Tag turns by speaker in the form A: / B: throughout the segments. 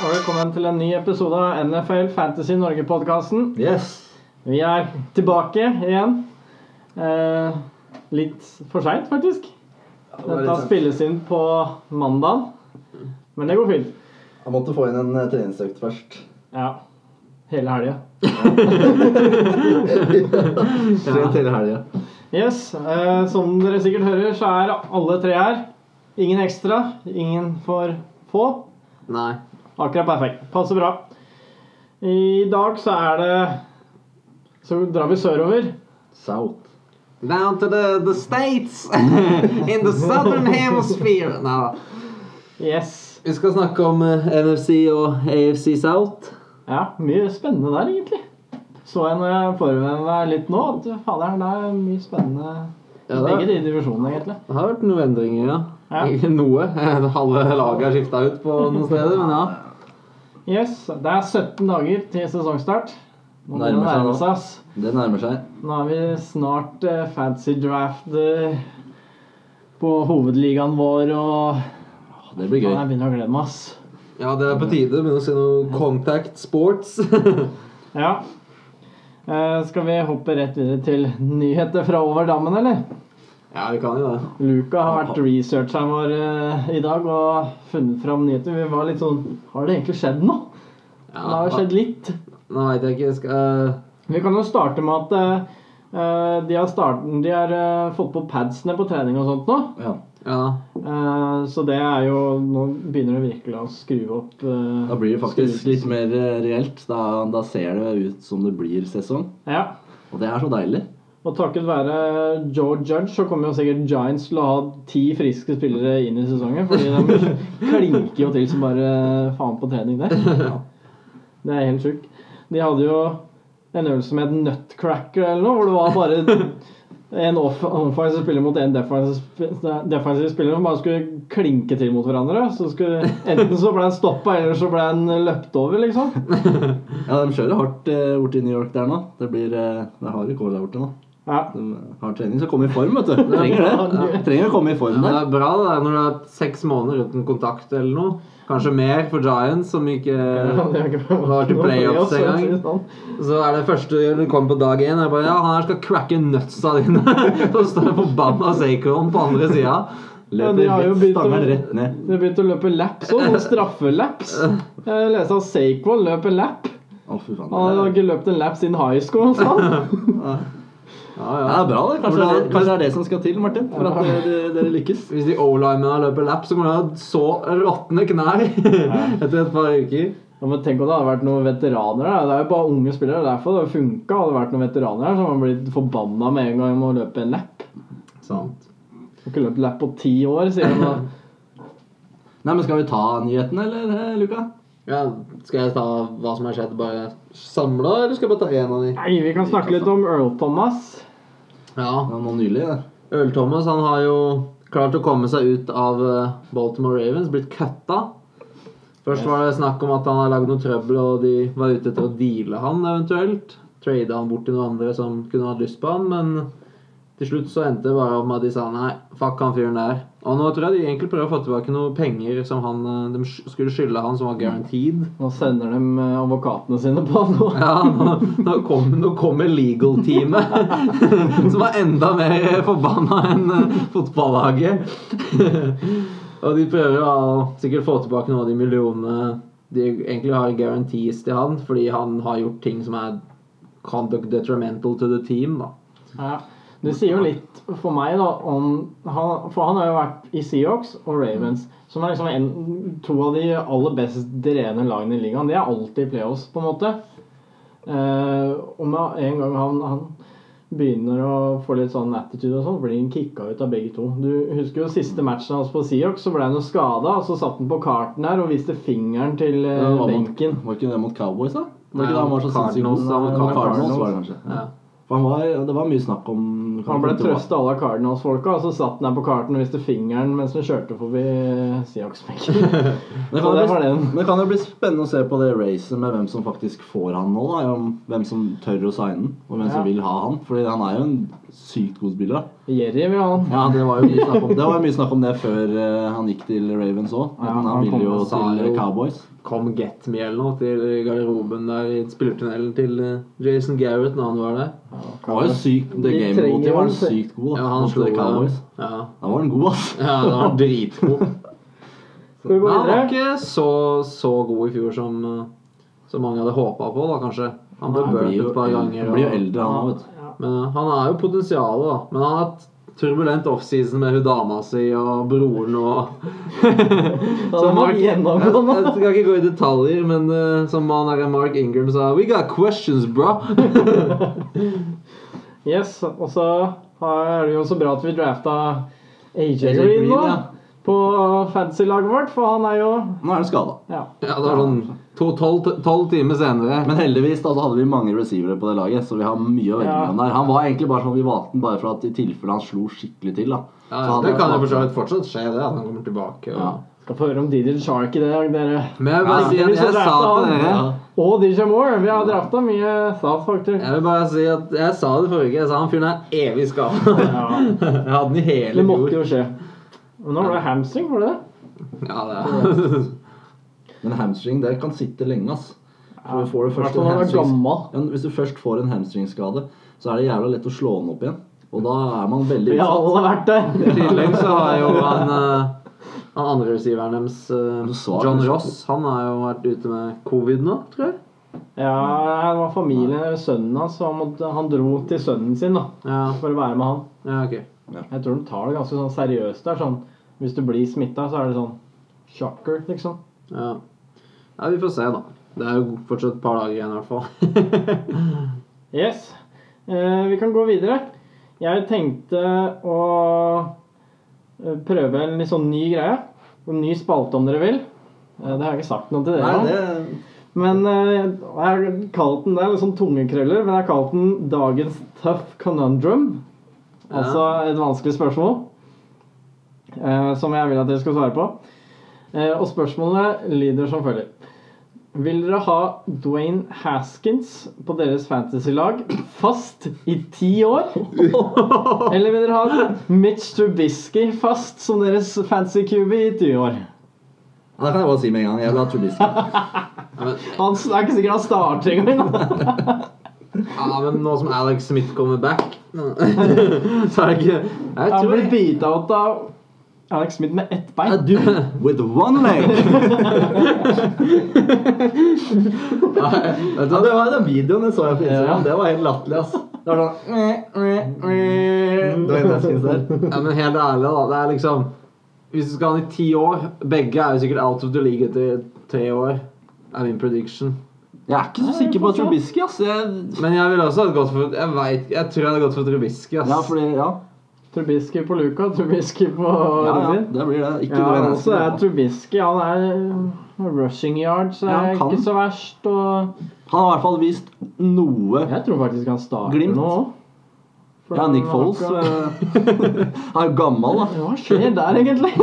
A: og velkommen til en ny episode av NFL Fantasy Norge-podkasten.
B: Yes.
A: Vi er tilbake igjen. Eh, litt for seint, faktisk.
B: Ja, det var
A: Dette
B: litt sånn.
A: spilles inn på mandag, men det går fint.
B: Jeg måtte få inn en eh, treningsøkt først.
A: Ja. Hele helga.
B: Trent hele helga.
A: Yes, eh, som dere sikkert hører, så er alle tre her. Ingen ekstra, ingen for få.
C: Nei.
A: Akkurat perfekt. Passer bra. I dag så er det Så drar vi sørover.
B: South.
C: Down to the, the States! In the southern hemisphere! Nei da.
A: Yes.
C: Vi skal snakke om eh, NFC og AFC South.
A: Ja, mye spennende der, egentlig. Så jeg når jeg forberedte meg litt nå, at fader, det er mye spennende i
C: Ja, det er-
A: begge de divisjonene, egentlig.
C: Det har vært noen endringer, ja.
A: Ja.
C: Ikke Noe. Halve laget er skifta ut på noen steder, men ja.
A: Yes, det er 17 dager til sesongstart. Nå må det
B: Nærmer seg
A: nærme
B: nå.
A: seg, ass.
B: Det nærmer seg.
A: Nå er vi snart eh, fancy draft eh, på hovedligaen vår, og
B: Det blir
A: faen,
B: gøy.
A: jeg begynner å glede meg, ass.
C: Ja, det er på tide. Begynner å se noe Contact Sports.
A: Ja. Eh, skal vi hoppe rett videre til nyheter fra over dammen, eller?
C: ja, vi kan jo det.
A: Luca har vært researcheren vår eh, i dag og funnet fram nyheter. Vi var litt sånn Har det egentlig skjedd noe?
C: Ja,
A: Det har jo skjedd litt.
C: Nå veit jeg ikke. Skal eh,
A: Vi kan jo starte med at eh, de har, starten, de har eh, fått på padsene på trening og sånt nå.
B: Ja.
C: Ja.
A: Eh, så det er jo Nå begynner det virkelig å skru opp. eh,
B: Da blir det faktisk
A: skru-
B: litt mer eh, reelt. Da, da ser det ut som det blir sesong.
A: Ja.
B: Og det er så deilig.
A: Og takket være Joe Judge så kommer jo sikkert Giants til å ha ti friske spillere inn i sesongen. Fordi de klinker jo til som bare faen på trening der. Det er helt sjukt. De hadde jo en øvelse som het Nutcracker eller noe, hvor det var bare en off- offensive spiller mot en defensive sp- defensive spiller som bare skulle klinke til mot hverandre. Så skulle, enten så ble han stoppa, eller så ble han løpt over, liksom.
B: Ja, De kjører hardt eh, borti New York der nå. Det blir eh, Det er harde kår der borte nå.
A: Ja.
B: De har trening, så kom i form, vet du. Trenger det. Ja. Trenger å komme i form
C: Det
B: der.
C: er bra det der når det er seks måneder uten kontakt eller noe. Kanskje mer for Giants, som ikke var til playoffs en gang. Så er det første du gjør når du kommer på dag én, er bare Ja, han her skal cracke nutsa dine! Så står det forbanna Sacron på andre sida.
A: Ja, de
B: Løper
A: har jo
B: rett,
A: begynt å-
B: stangeren rett ned.
A: Det begynte å løpe laps òg, sånn straffelaps. Jeg leste at Saquon løp en lap.
B: Å, fy faen.
A: Han
B: det
A: hadde
B: er-
A: ikke løpt en lap siden high school. altså. sa han.
C: Ja,
B: Ja,
C: ja.
B: det er bra, det. Kanskje, det, kanskje det er det som skal til, Martin, for at eh, dere, dere lykkes.
C: Hvis de o-limene løper lap, så kommer de ha så råtne knær etter et par uker.
A: Ja, men tenk om det hadde vært noen veteraner der. Det er jo bare unge spillere. derfor det hadde funket. Hadde det vært noen veteraner der, så hadde man blitt forbanna med en gang med å løpe en lap.
B: Sånn.
C: Sant.
A: Har ikke løpt lap på ti år, sier de da.
B: Nei, men Skal vi ta nyheten, eller, eh, Luka?
C: Ja, skal jeg ta hva som har skjedd, bare samla, eller skal jeg bare ta én av de?
A: Nei, vi kan snakke litt om Earl Thomas.
C: Ja,
B: Det var noe nylig, det.
C: Øl-Thomas han har jo klart å komme seg ut av eh, Baltimore Ravens, blitt cutta. Først var det snakk om at han har lagd noe trøbbel, og de var ute etter å deale han eventuelt. Trade han bort til noen andre som kunne hatt lyst på han, men til slutt så endte det bare opp med at de sa nei, fuck han fyren der. Og nå tror jeg de egentlig prøver å få tilbake noen penger som han, eh, de sk- skulle skylde han, som var guaranteed.
A: Nå sender de eh, advokatene sine på han nå.
C: Ja, nå, nå, kom, nå kommer legal-teamet, som er enda mer forbanna enn eh, fotballaget. Og de prøver jo å sikkert få tilbake noen av de millionene de egentlig har guarantees til han, fordi han har gjort ting som er conduct detrimental to the team, da.
A: Ja. Det sier jo litt for meg, da, om han, For han har jo vært i Seahawks og Ravens, som er liksom en, to av de aller best drevne lagene i ligaen. De er alltid i playoffs, på en måte. Eh, og med en gang han, han begynner å få litt sånn attitude og sånn, blir han kicka ut av begge to. Du husker jo siste matchen hans på Seahawks, så ble han jo skada, og så satt han på karten her og viste fingeren til eh,
B: Det var mot-
A: benken.
B: Var ikke det mot Cowboys, da? Var
C: Nei,
B: ikke det han var så
C: Cardinals,
B: sinnssykt god?
C: da, mot
B: Det var
C: Cardinals.
B: Cardinals, var det kanskje.
C: Ja.
B: For han var, det var mye snakk om
A: Han ble
B: om-
A: trøsta av alle Cardinals-folka, og så satt han der på karten og viste fingeren mens han kjørte forbi Siaksbenken.
B: Men det,
A: Så
B: kan
A: det
B: jo
A: var
B: bli,
A: den.
B: men det kan jo bli spennende å se på det racet med hvem som faktisk får han nå. Da. Om hvem som tør å signe den, og hvem
A: Ja.
B: som vil ha han. Fordi han er jo en sykt god spiller. Da.
A: Jerry vil ha han.
B: Ja, Det var jo mye snakk om det, var jo mye snakk om det før eh, han gikk til Ravens òg.
A: Ja,
B: han,
A: han
B: ville jo
C: kom- sa
B: til
C: jo-
B: Cowboys.
C: Kom Get Me eller noe til garderoben der i spillertunnelen til eh, Jason Garrett når han var der.
B: Han var jo sykt The
A: De
B: Game mot de var han
A: trenger-
B: sykt god. da.
C: Ja, han
B: Mot
C: slo
B: The Cowboys.
C: Cowboys. Ja.
B: Da var han god, ass.
C: ja, han var dritgod.
A: Skal vi
C: Men
A: gå
C: han var
A: videre?
C: ikke så, så god i fjor som, eh, som mange hadde håpa på, da kanskje. Han ble
B: Han blir
C: burnt
B: jo
C: et par
B: eldre,
C: ganger.
B: han blir jo
C: og-
B: eldre han òg, vet du.
A: Ja.
C: Men eh, han er jo potensialet, da. Men han har hatt turbulent offseason med hun dama si og broren og
A: Da må
C: Mark-
A: vi
C: Jeg,
A: gjennomgå
C: jeg
A: nå.
C: skal ikke gå i detaljer, men eh, som han der Mark Ingram sa We got questions, bro!
A: Yes, og så er det jo så bra at vi drafta AJ
C: AJ
A: Green nå.
C: Green, ja.
A: På fantasy-laget vårt, for han er jo
B: Nå er han skada.
A: Ja.
C: Ja, det var sånn to- tolv tolv timer senere.
B: Men heldigvis da, så hadde vi mange receivere på det laget, så vi har mye å velge
A: Ja.
B: mellom der. Han var egentlig bare sånn vi valgte han bare for at i tilfelle han slo skikkelig til, da.
C: Ja,
B: Så han-
C: det kan jo for så vidt fortsatt skje, det. At han kommer tilbake. Og...
B: Ja.
A: Skal få høre om DJ Shark i dag, dere.
C: Men jeg vil bare
A: Ja.
C: si at
A: Heldigvis så
C: jeg sa
A: drepte
C: til
A: han.
C: dere
A: Og DJ Moore. Vi har drafta mye South Factor.
C: Jeg vil bare si at jeg sa det forrige uke. Jeg sa han fyren er evig skada.
A: Ja.
C: jeg hadde den i hele
A: Det måtte
C: fjor.
A: jo skje. Men nå var det hamstring, var det det?
C: Ja, det er.
B: Men hamstring, det kan sitte lenge, ass. For du får
A: I hvert
B: det først
A: fall
B: en
A: når han er
B: hamstrings-
A: gammel.
B: Ja, Hvis du først får en hamstringskade, så er det jævla lett å slå den opp igjen. Og da er man veldig
A: Vi har
B: utsatt.
A: alle vært der.
C: I tillegg så har jo han, eh, han andre receiveren deres, eh,
B: Du sa det.
C: John Ross, han har jo vært ute med covid nå, tror jeg.
A: Ja, det var familien, sønnen hans, så han, måtte, han dro til sønnen sin da,
C: Ja,
A: for å være med han.
C: ja ok.
A: Jeg tror de tar det ganske sånn seriøst der. Sånn, hvis du blir smitta, så er det sånn shocker, liksom.
C: Ja. ja, vi får se, da. Det er jo fortsatt et par dager igjen, i hvert fall.
A: Yes. Eh, vi kan gå videre. Jeg tenkte å eh, prøve en litt sånn ny greie. En ny spalte, om dere vil. Eh, det har jeg ikke sagt noe til dere
B: Nei,
A: om.
B: det
A: Men eh, jeg har kalt den det er litt sånn tungekrøller, men jeg har kalt den dagens tough conundrum.
C: Ja.
A: Altså et vanskelig spørsmål eh, som jeg vil at dere skal svare på. Eh, og spørsmålene lyder som følger. Vil dere ha Dwayne Haskins på deres fantasylag fast i ti år? Eller vil dere ha Mitch Trubisky fast som deres fancy QB i 20 år?
B: Ja, Det kan jeg bare si med en gang. Jeg vil ha Trubisky.
C: Ja, men,
A: Han, det er ikke sikkert han starter engang.
C: ja, men nå som Alex Smith kommer back, så er det ikke Jeg
A: Han
C: tror
A: blir
C: jeg,
A: beata out av Alex Smith med ett
B: A
A: bein.
B: dude with one leg.
C: Vet du
B: Ja,
C: hva?
B: det var den videoen jeg så jeg på Instagram.
A: Ja.
B: Det var helt latterlig, ass. Det var sånn Dwayne Haskins der.
C: Ja, men helt ærlig, da. Det er liksom Hvis du skal ha den i ti år Begge er jo sikkert out of the league etter tre år. Er min prediction.
B: Jeg er ikke så sikker på Trubisky, ass. Jeg,
C: Men jeg ville også hatt gått for Jeg vet, jeg tror jeg hadde gått for Trubisky. ass.
B: ja, fordi Ja,
A: Trubisky på Luca, Trubisky på
B: ja, ja altså,
A: Robin.
B: det blir det. Ikke
A: Ja,
B: Dwayne
A: og så er
B: Haskins.
A: Trubisky Han er eh, rushing yards,
B: Ja,
A: er
B: han kan.
A: ikke så verst. Og
B: Han har i hvert fall vist noe.
A: jeg tror faktisk han starter
B: Glimt.
A: nå òg.
B: Ja, Nick Foles eh, Han er jo gammel, da.
A: Hva skjer der, egentlig?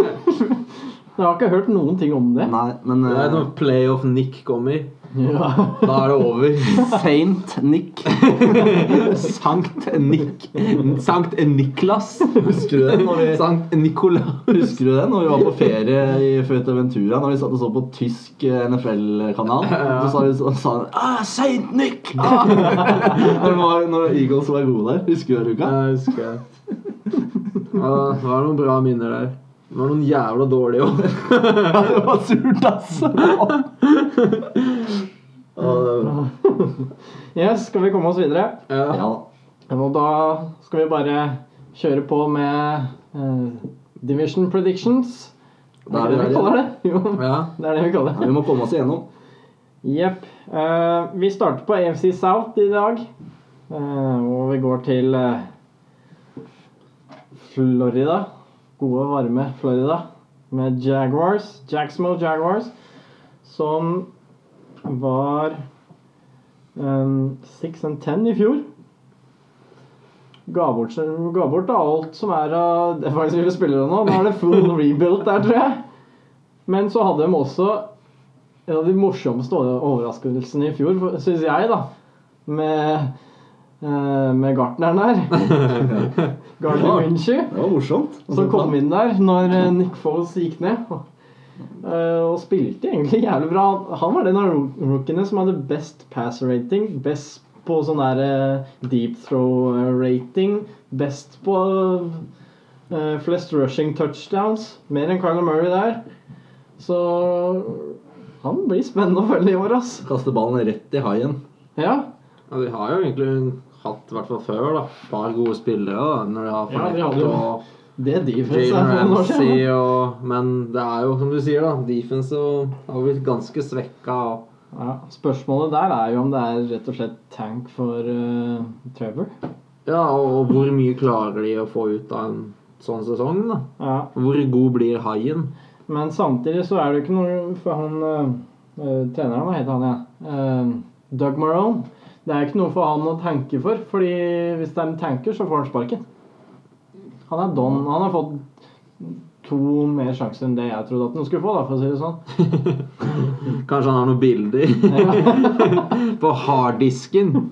A: Jeg har ikke hørt noen ting om det.
B: Nei, men
C: Det er
B: eh,
C: når playoff Nick kommer.
A: Ja.
C: Da er det over.
B: Saint Nick. Sankt Nick.
C: Sankt Niklas.
B: Husker du det? Når vi,
C: Sankt Nicolas.
B: husker du det når vi var på ferie i Fuerteventura? Når vi satt og så på tysk eh, NFL-kanal? Så sa vi så, sa han, ah, Saint Nick! Ah! når, det var, når Eagles var gode der. Husker du det, Luka?
C: Jeg husker det. Ja, det var noen bra minner der. Det var noen jævla dårlige òg.
B: Ja, det var surt, ass!
A: Yes, skal vi komme oss videre?
B: Ja
C: Ja.
B: da.
A: Og da skal vi bare kjøre på med eh, division predictions. Det
B: Da
A: er
B: er vi
A: det vi
B: der
A: kaller
B: igjen.
A: det. Jo,
C: Ja.
A: det er det vi kaller
B: Ja,
A: det.
B: vi må komme oss igjennom.
A: Jepp. Eh, vi starter på AFC South i dag. Eh, og vi går til eh, Florida. Gode, varme Florida. Med Jaguars. Jacksmo Jaguars. Som var um, 6 and 10 i fjor. Ga bort, ga bort da alt som er av defensive spillere nå. Nå er det full rebuild der, tror jeg. Men så hadde de også en av de morsomste overraskelsene i fjor, syns jeg, da. Med, eh, med gartneren der. Gardner Winchy.
B: Det var morsomt.
A: Som kom inn der når eh, Nick Foles gikk ned. eh, og spilte egentlig jævlig bra. Han var den av rook- rookiene som hadde best pass rating, best på sånn der eh, deep throw eh, rating, best på eh, flest rushing touchdowns. Mer enn Carlo Murray der. Så han blir spennende å følge i år, ass.
B: Kaste ballen rett i haien.
A: Ja.
C: Ja, de har jo egentlig hatt, i hvert fall før, da, et par gode spillere. da, når de har
A: Ja, de
C: Fournette
A: hadde jo
C: og
A: Det defense
C: Jalen
A: er for noen år siden.
C: Ramsey og Men det er jo, som du sier, da, defense og, har blitt ganske svekka. Og,
A: Ja, spørsmålet der er jo om det er rett og slett tank for eh, Trevor.
C: ja, og, og hvor mye klarer de å få ut av en sånn sesong? da?
A: Ja.
C: Hvor god blir haien?
A: Men samtidig så er det jo ikke noe for han eh, eh, treneren, hva heter han igjen? Eh, Doug Marone. Det er ikke noe for han å tanke for, fordi hvis de tanker, så får han sparken. Han er don. Han har fått to mer sjanser enn det jeg trodde at han skulle få, da, for å si det sånn.
C: Kanskje han har noen bilder på harddisken?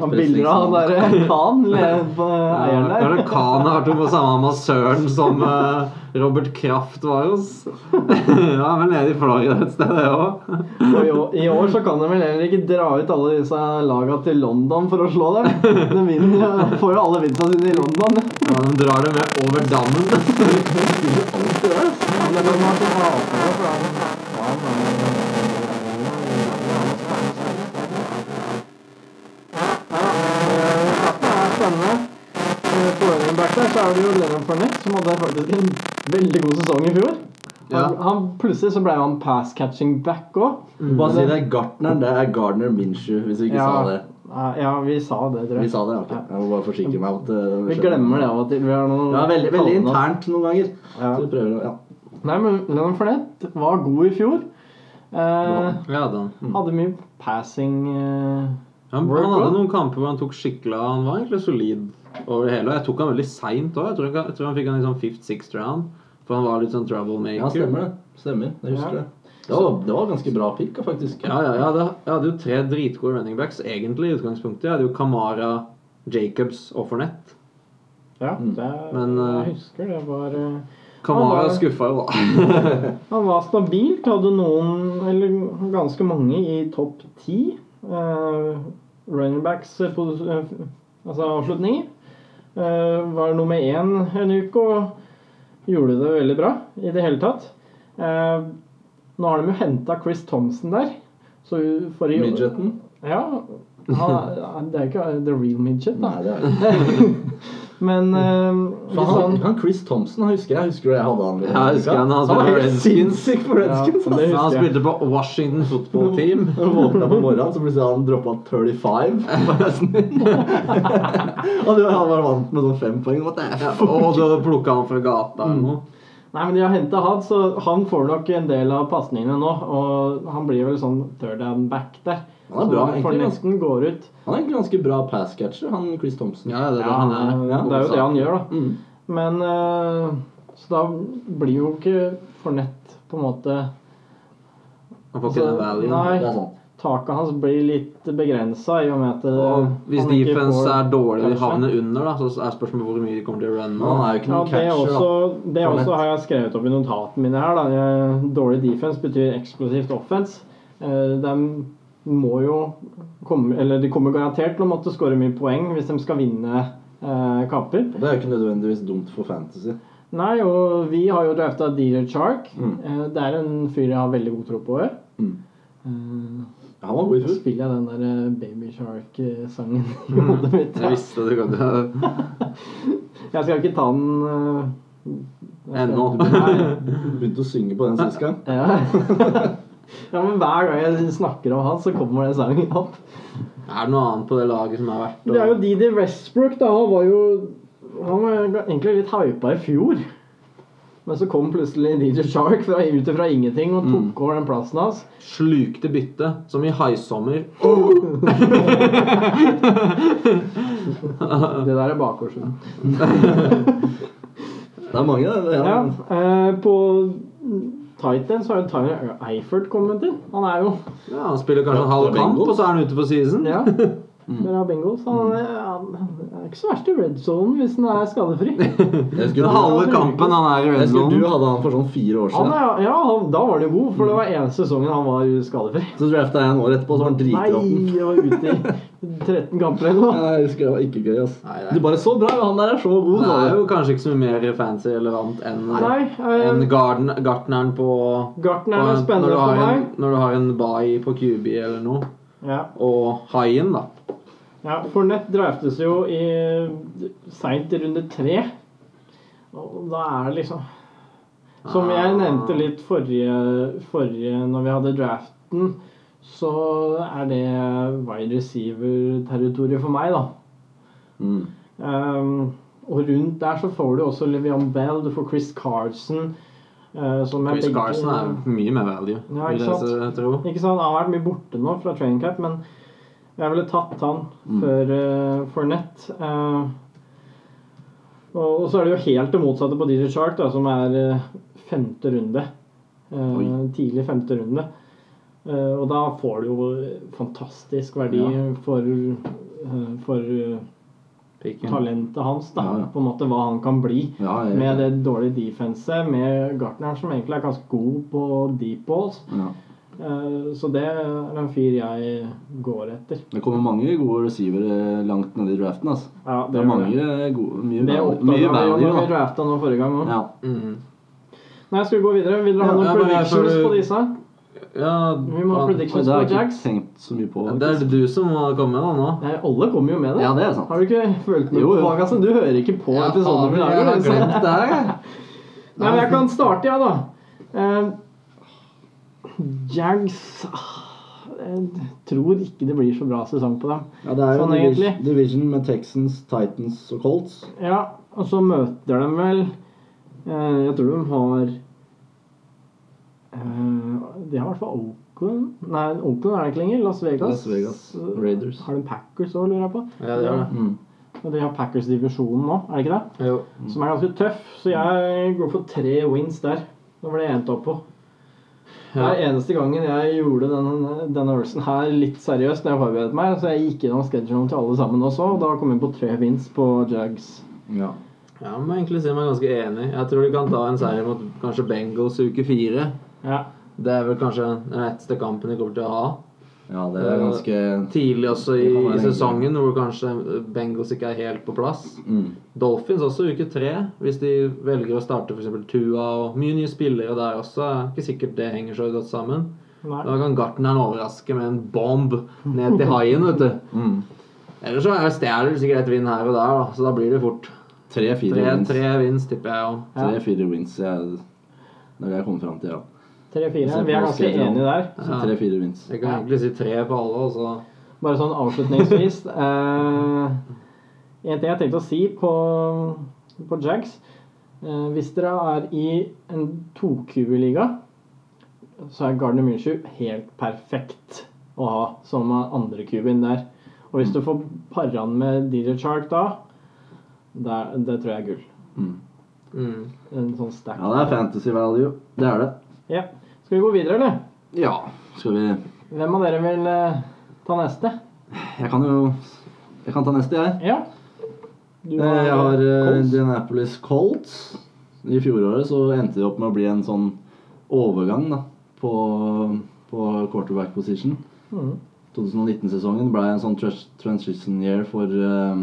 A: Han bilder
B: sånn.
A: av han derre Khan, le- på eieren der.
C: Kanskje Khan har vært på samme massøren som eh, Robert Kraft var hos. ja, men nede i Florida et sted, det òg.
A: Og i år- I år så kan de vel heller ikke dra ut alle disse laga til London for å slå dem. De vinner, jo- får jo alle vinstene sine i London.
C: Ja, de drar det med over dammen.
A: Som hadde faktisk en veldig god sesong i fjor.
C: Ja.
A: Han, han, plutselig så ble han pass catching back òg.
B: Bare si det er Gartner. Det er Gardner Minshew, hvis vi ikke sa det.
A: ja, vi sa det, tror
B: Vi
A: jeg.
B: sa det, ok. Jeg må bare forsikre meg om at eh,
A: Vi glemmer det av og til. Vi har noen
B: Ja, veldig, veldig
A: kallenavn.
B: internt noen ganger.
A: Ja.
B: Så vi prøver å ja.
A: Nei, men Leonard Fournette var god i fjor. Eh,
C: Ja, da.
A: hadde mye passing eh,
C: Han,
A: Work
C: han hadde
A: well.
C: noen kamper hvor han tok skikkelig av. Han var egentlig solid over det hele. Og jeg tok han veldig seint òg. Jeg, tror han- jeg tror han fikk han i sånn fifth-sixth round. For han var litt sånn troublemaker.
B: ja, stemmer det. Stemmer, Jeg husker
A: Ja.
B: det. Det var, det var ganske bra pick, faktisk.
C: Ja, ja, ja, det, jeg hadde jo tre dritgode running backs egentlig i utgangspunktet. Jeg hadde jo Kamara, Jacobs og Fornett.
A: Ja,
B: Mm.
A: det,
C: Men, eh,
A: jeg husker det var eh,
C: Kamara
A: Han var-
C: skuffa jo, da.
A: Han var stabilt. Hadde noen, eller ganske mange, i topp ti eh, running backs eh, på, eh, altså avslutninger. Eh, var nummer én en uke og gjorde det veldig bra i det hele tatt. Eh, nå har de jo henta Chris Thompson der. Så for i
B: Midgeten.
A: Ja, han, det er ikke the real midget,
B: Nei,
A: da.
B: det er det.
A: Men eh,
B: Så
A: litt
B: han,
A: sånn
B: han Chris Thompson han husker jeg. Husker du jeg hadde han?
C: Ja, jeg husker han, han
B: var
C: spilte
B: helt
C: Redskins.
B: sinnssyk for
A: Ja,
B: Redskins. ass.
A: det husker
C: Han
A: jeg.
C: spilte på Washington Football Team.
B: Han våkna på morgenen, så plutselig hadde han droppa 35 på hesten din. Og du han var vant med sånn fem poeng. What the
C: Ja,
B: f-
C: og da plukka han fra gata
A: Mm.
C: eller noe.
A: Nei, men de har henta han, så han får nok en del av pasningene nå. Og han blir vel sånn third and back der.
B: Han er bra,
A: så
B: egentlig,
A: for
B: ganske-
A: nesten går ut.
B: Han er egentlig ganske bra passcatcher, han Chris Thompson.
C: Ja, det er det han er.
A: ja, det er jo det han gjør, da.
B: Mm.
A: Men eh, Så da blir jo ikke Fornett på en måte
C: Han får ikke den
A: Altså,
C: valuen.
A: nei.
B: Det er sant.
A: Taket hans blir litt begrensa i og med at eh,
C: Og hvis
A: han ikke
C: defense
A: får-
C: er dårlig og de
A: catchen.
C: havner under, da, så er spørsmålet hvor mye de kommer til å runne.
B: Han er jo ikke
A: ja,
B: noen
A: det, er
B: catcher, da.
A: også, det er
B: Fournette.
A: også har jeg skrevet opp i notatene mine her. Da. Eh, Dårlig defense betyr eksplosivt offense. Eh, De må jo komme, eller de kommer garantert til å måtte skåre mye poeng hvis de skal vinne eh, kamper.
B: Og Det er jo ikke nødvendigvis dumt for fantasy.
A: Nei, og vi har jo drafta DJ Chark.
B: Mm.
A: Eh, Det er en fyr jeg har veldig god tro på. jeg.
B: Mm.
A: Eh,
B: Ja, Han var god i
A: Så
B: fjor.
A: spiller jeg den der eh, Baby Shark-sangen i
B: Mm.
A: hodet mitt.
C: Jeg visste det kom til å
A: Jeg skal ikke ta den eh, jeg skal-
C: Ennå.
A: Nei.
B: Begynte å synge på den sist gang.
A: Ja. ja, men hver gang jeg snakker om han, så kommer den sangen opp.
C: Er det noe annet på det laget som er verdt
A: Det er jo Didi Westbrook, da. Han var jo Han var egentlig litt hypa i fjor. Men så kom plutselig DJ Shark fra, ut fra ingenting og tok over den plassen hans.
C: Slukte bytte, som i haisommer.
A: Det der er bakgårdsord.
B: Det er mange, det.
A: Ja,
B: Ja.
A: eh, på Titan så har jo Tyler Eifert kommet inn. Han er jo
C: Ja, han spiller kanskje en halv
B: Fra
C: kamp,
B: Bengals.
C: og så er han ute for season.
A: Ja. Dere har bingo, så han er, han er ikke så verst i red zone hvis han er skadefri.
B: Jeg
C: Den halve kampen han er i
B: jeg
C: red
B: husker du
C: zone.
B: hadde han for sånn fire år
A: Han
B: siden.
A: er, ja, han, Da var han jo god, for det var ene sesongen han var skadefri.
B: Så drafta jeg en år etterpå, så var han
A: Nei,
B: dritråtten.
A: jeg var ute i 13 kamper eller noe.
B: Jeg husker det var ikke gøy, ass.
C: Nei, nei.
B: Du bare så bra, han der er så god.
C: Det
B: sa
C: er
B: du.
C: jo kanskje ikke så mye mer fancy relevant enn
A: Nei,
C: enn
A: eh,
C: garden, gartneren på
A: Gartner er
C: på en- når,
A: spennende
C: du har
A: for
C: en,
A: meg.
C: når du har en bai på QB eller noe,
A: Ja.
C: og haien, da.
A: Ja, Fornett draftes jo i seint i runde tre. Og da er det liksom Som
C: Ah.
A: jeg nevnte litt forrige, forrige når vi hadde draften, så er det wide receiver-territoriet for meg, da.
B: Mm.
A: Ehm, og rundt der så får du også Levian Bell, du får Chris Carson. eh, som jeg
C: Chris
A: begge-
C: Carson er mye mer value,
A: Ja,
C: vil
A: ikke
C: jeg
A: sant?
C: så tro.
A: Ikke sant, Han har vært mye borte nå fra training cap, men jeg ville tatt han
B: Mm.
A: før uh, Fornett. Eh, og, og så er det jo helt det motsatte på DJ Shark, da, som er eh, femte runde. Eh,
B: Oi.
A: tidlig femte runde. Eh, og da får du jo fantastisk verdi
B: Ja.
A: for, eh, for eh,
C: Picken.
A: talentet hans, da,
B: Ja, ja.
A: på en måte hva han kan bli.
B: Ja, jeg,
A: Med det dårlige defenset, med Gartner som egentlig er ganske god på deep balls.
B: Ja.
A: Eh, Så det er en fyr jeg går etter.
B: Det kommer mange gode receivere langt nede i draften. ass.
A: Ja,
B: Det er mange eh, gode Mye,
A: Det
B: val-
A: oppdaga vi
B: mye
A: jo når vi
B: value, da.
A: drafta nå forrige gang òg.
B: Ja.
C: Mm.
A: Nei, skal vi gå videre? Vil dere ha
C: Ja,
A: noen
C: ja, men jeg
A: predictions
C: føler-
A: på disse?
C: Ja,
A: Vi må ha
C: faen.
B: Og
A: predictions på
B: det har jeg
A: Jags.
B: ikke tenkt så mye på.
C: det er du som må komme med da nå.
A: Nei, Eh, alle kommer jo med det.
B: Ja, det er sant.
A: Har du ikke følt noe
B: Jo,
A: på
B: jo.
A: bagasen? Du hører ikke på
C: Ja,
A: episoden
C: faen,
A: vi
C: jeg har
A: lager. så-
C: glemt det her, jeg.
A: Nei, men jeg kan starte, jeg, da. Eh, Jags ah, Jeg tror ikke det blir så bra sesong på dem.
B: Ja, det er jo
A: Sånn
B: divis-
A: egentlig.
B: division med Texans, Titans og Colts.
A: Ja, og så møter de vel eh, Jeg tror de har eh, De har i hvert fall Oakland Nei, Oakland er det ikke lenger. Las Vegas. Eh,
B: Las Vegas Raiders.
A: Har de Packers òg, lurer jeg på?
C: Ja, det gjør det.
B: Mm.
A: Og de har Packers-divisjonen nå, er det ikke det?
C: Jo.
A: Som er ganske tøff. Så jeg går for tre wins der. Det ble jeg endt opp på. Det
C: Ja.
A: er eneste gangen jeg gjorde denne, denne øvelsen her litt seriøst. når jeg forberedte meg, Så jeg gikk gjennom schedulen til alle sammen også, og da kom jeg på tre wins på Jags.
B: Ja.
C: Jeg må egentlig si meg ganske enig. Jeg tror de kan ta en seier mot kanskje Bengals i uke fire.
A: Ja.
C: Det er vel kanskje den letteste kampen de kommer til å ha.
B: ja, det er ganske
C: Tidlig også i,
B: Det kan være
C: i
B: lenge.
C: sesongen, hvor kanskje Bengals ikke er helt på plass.
B: mm.
C: Dolphins også uke tre, hvis de velger å starte f.eks. Tua og mye nye spillere der også. er Ikke sikkert det henger så godt sammen.
A: Nei.
C: Da kan gartneren overraske med en bomb ned til haien, vet du.
B: Mm.
C: Ellers så er Stjæler sikkert et vinn her og der, da, så da blir det fort.
B: Tre-fire
C: Tre,
B: wins.
C: tre vins, tipper jeg. Og.
A: Ja.
B: Tre-fire wins jeg, det er det jeg kommer fram til, ja.
A: Tre-fire. Vi er ganske enige der.
B: Så Tre-fire wins.
C: Jeg kan egentlig si tre på alle, og så
A: Bare sånn avslutningsvis eh, En ting jeg tenkte å si på, på Jags eh, Hvis dere er i en 2Q-liga, så er Gardner Minshew helt perfekt å ha som andre QB-en der. Og hvis du får para han med DJ Chark da, det, er- det tror jeg er gull.
B: Mm.
C: mm.
A: En sånn stack.
B: Ja, det er fantasy value. Det er det.
A: Ja. Skal vi gå videre, eller?
B: Ja, skal vi
A: Hvem av dere vil eh, ta neste?
B: Jeg kan jo Jeg kan ta neste, jeg.
A: Ja. Du
B: Eh, Jeg har eh,
A: Colts.
B: Indianapolis Colts. I fjoråret så endte det opp med å bli en sånn overgang da, på, på quarterback position.
A: Mhm.
B: 2019-sesongen ble en sånn trans- transition year for, eh,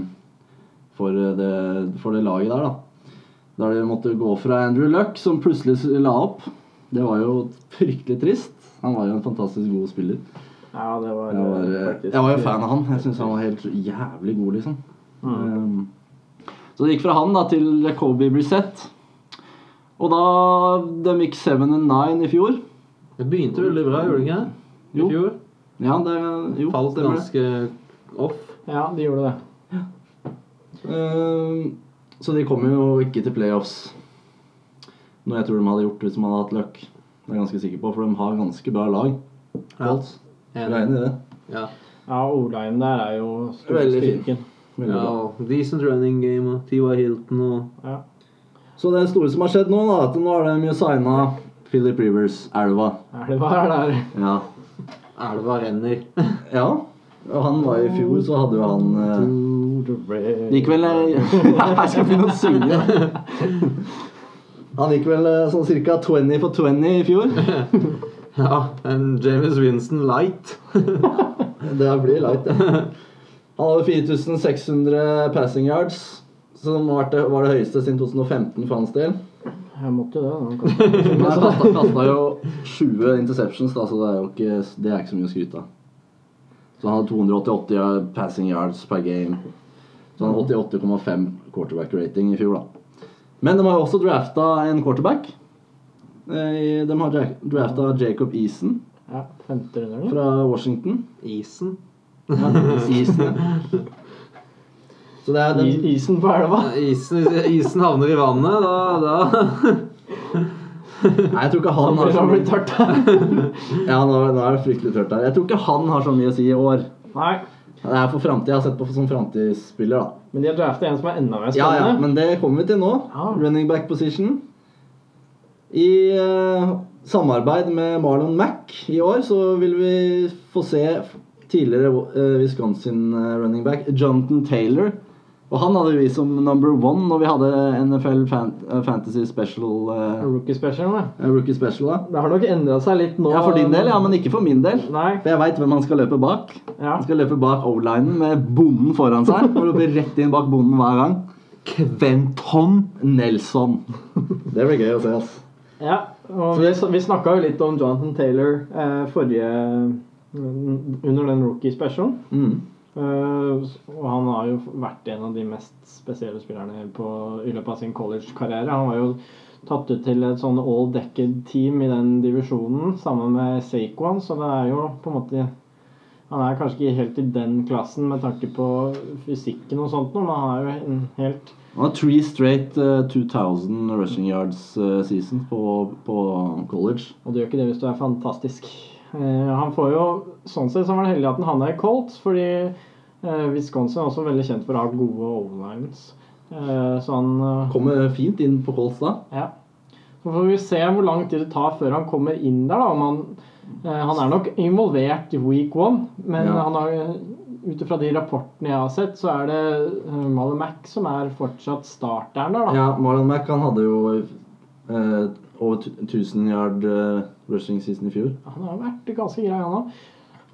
B: for, eh, det, for det laget der. da. Der de måtte gå fra Andrew Luck, som plutselig s- la opp. Det var jo fryktelig trist. Han var jo en fantastisk god spiller.
A: Ja, det var,
B: Jeg var,
A: eh,
B: eh,
A: faktisk-
B: jeg var jo fan av han. Jeg syns han var helt jævlig god, liksom.
A: Mm.
B: Um, Så det gikk fra han da til Kobe Brissett. Og da de gikk 7 and 9 i fjor.
C: Det begynte veldig bra, gjorde det ikke det? I
B: Jo.
C: fjor.
B: Ja, det jo,
C: Falt
B: stemmer det.
C: ganske off.
A: Ja, de gjorde det.
B: Um, Så de kommer jo ikke til playoffs. Noe jeg tror de hadde gjort hvis de hadde hatt luck. Det er jeg ganske sikker på, for de har ganske bra lag. Colts.
C: Ja.
B: Jeg er enig i det.
C: Ja.
A: Ja, Oline der er jo stor
B: Veldig fin.
A: styrken.
B: Veldig
C: ja,
B: bra.
C: og decent running game og T.Y. Hilton og
A: Ja.
B: Så det store som har skjedd nå, da, at nå har de jo signa Philip Rivers, elva. Eh,
A: Er det hva er det her?
B: Ja.
C: elva renner.
B: ja. Og han var i fjor, så hadde jo han eh,
A: Det
B: gikk vel eh, Jeg skal begynne å synge. Han gikk vel eh, sånn cirka 20 for 20 i fjor.
C: Ja, en James Winston light.
B: Det blir light, det. Han hadde 4600 passing yards, som var det, var det høyeste siden 2015 for hans del.
A: Jeg måtte det. da. Kanskje.
B: Men han kasta- kasta jo 20 interceptions, da, så det er jo ikke, det er ikke så mye å skryte av. Så han hadde 288 yard- passing yards per game. Så han hadde 88,5 quarterback rating i fjor, da. Men de har jo også drafta en quarterback. Eh, De har drafta Jacob Eason
A: Ja, femte runde, eller?
B: fra Washington.
C: Isen.
B: Eason. Så det er den
A: I- Isen på elva.
C: Ja, Isen, isen havner i vannet, da, da.
B: Nei, jeg tror ikke han har
A: Det
B: så
A: har
B: mye
A: blitt tørt her.
B: Ja, nå, nå er det fryktelig tørt her. Jeg tror ikke han har så mye å si i år.
A: Nei.
B: Det er for fremtiden. Jeg har sett på som framtidsspiller, da.
A: Men de har draftet en som er enda mer
B: Ja, ja,
A: spennende.
B: men det kommer vi til nå.
A: Ja.
B: Running back position. I eh, samarbeid med Marlon Mack i år så vil vi få se tidligere eh, Wisconsin eh, running back Jonathan Taylor. Og han hadde vi som number one når vi hadde NFL fan eh, Fantasy Special eh,
A: Rookie special, da.
B: Rookie Special. da.
A: Det har nok endret seg litt nå.
B: Ja, for din del, ja, men ikke for min del.
A: Nei.
B: For jeg veit hvem han skal løpe bak.
A: Ja.
B: Han skal løpe bak O-linen med bonden foran seg. Og løpe rett inn bak bonden hver gang. Kventon Nelson. Det blir gøy å se, ass.
A: Ja, og vi, vi snakka jo litt om Jonathan Taylor eh, forrige Under den rookie specialen.
B: Mm.
A: Eh, og han har jo vært en av de mest spesielle spillerne på, i løpet av sin college-karriere. Han var jo tatt ut til et sånn all-decked-team i den divisjonen sammen med Saquon, så det er jo på en måte Han er kanskje ikke helt i den klassen med tanke på fysikken og sånt, noe, men han er jo en helt
B: Han har three straight eh, 2000 rushing yards eh, season på, på college.
A: Og du gjør ikke det hvis du er fantastisk. Eh, han får jo, Sånn sett så var han heldig at han havna i Colts, fordi eh, Wisconsin er også veldig kjent for å ha gode overlines. Eh, så han eh,
B: Kommer fint inn på Colts da.
A: Ja. Så får vi se hvor lang tid det tar før han kommer inn der. da, om han, eh, han er nok involvert i week one, men
B: Ja.
A: han har, eh, ut ifra de rapportene jeg har sett, så er det eh, Malin Mack som er fortsatt starteren der. da.
B: Ja, Marlon Mack han hadde jo eh, over 1000 yard eh, rushing season i fjor.
A: Han har vært ganske grei, han òg.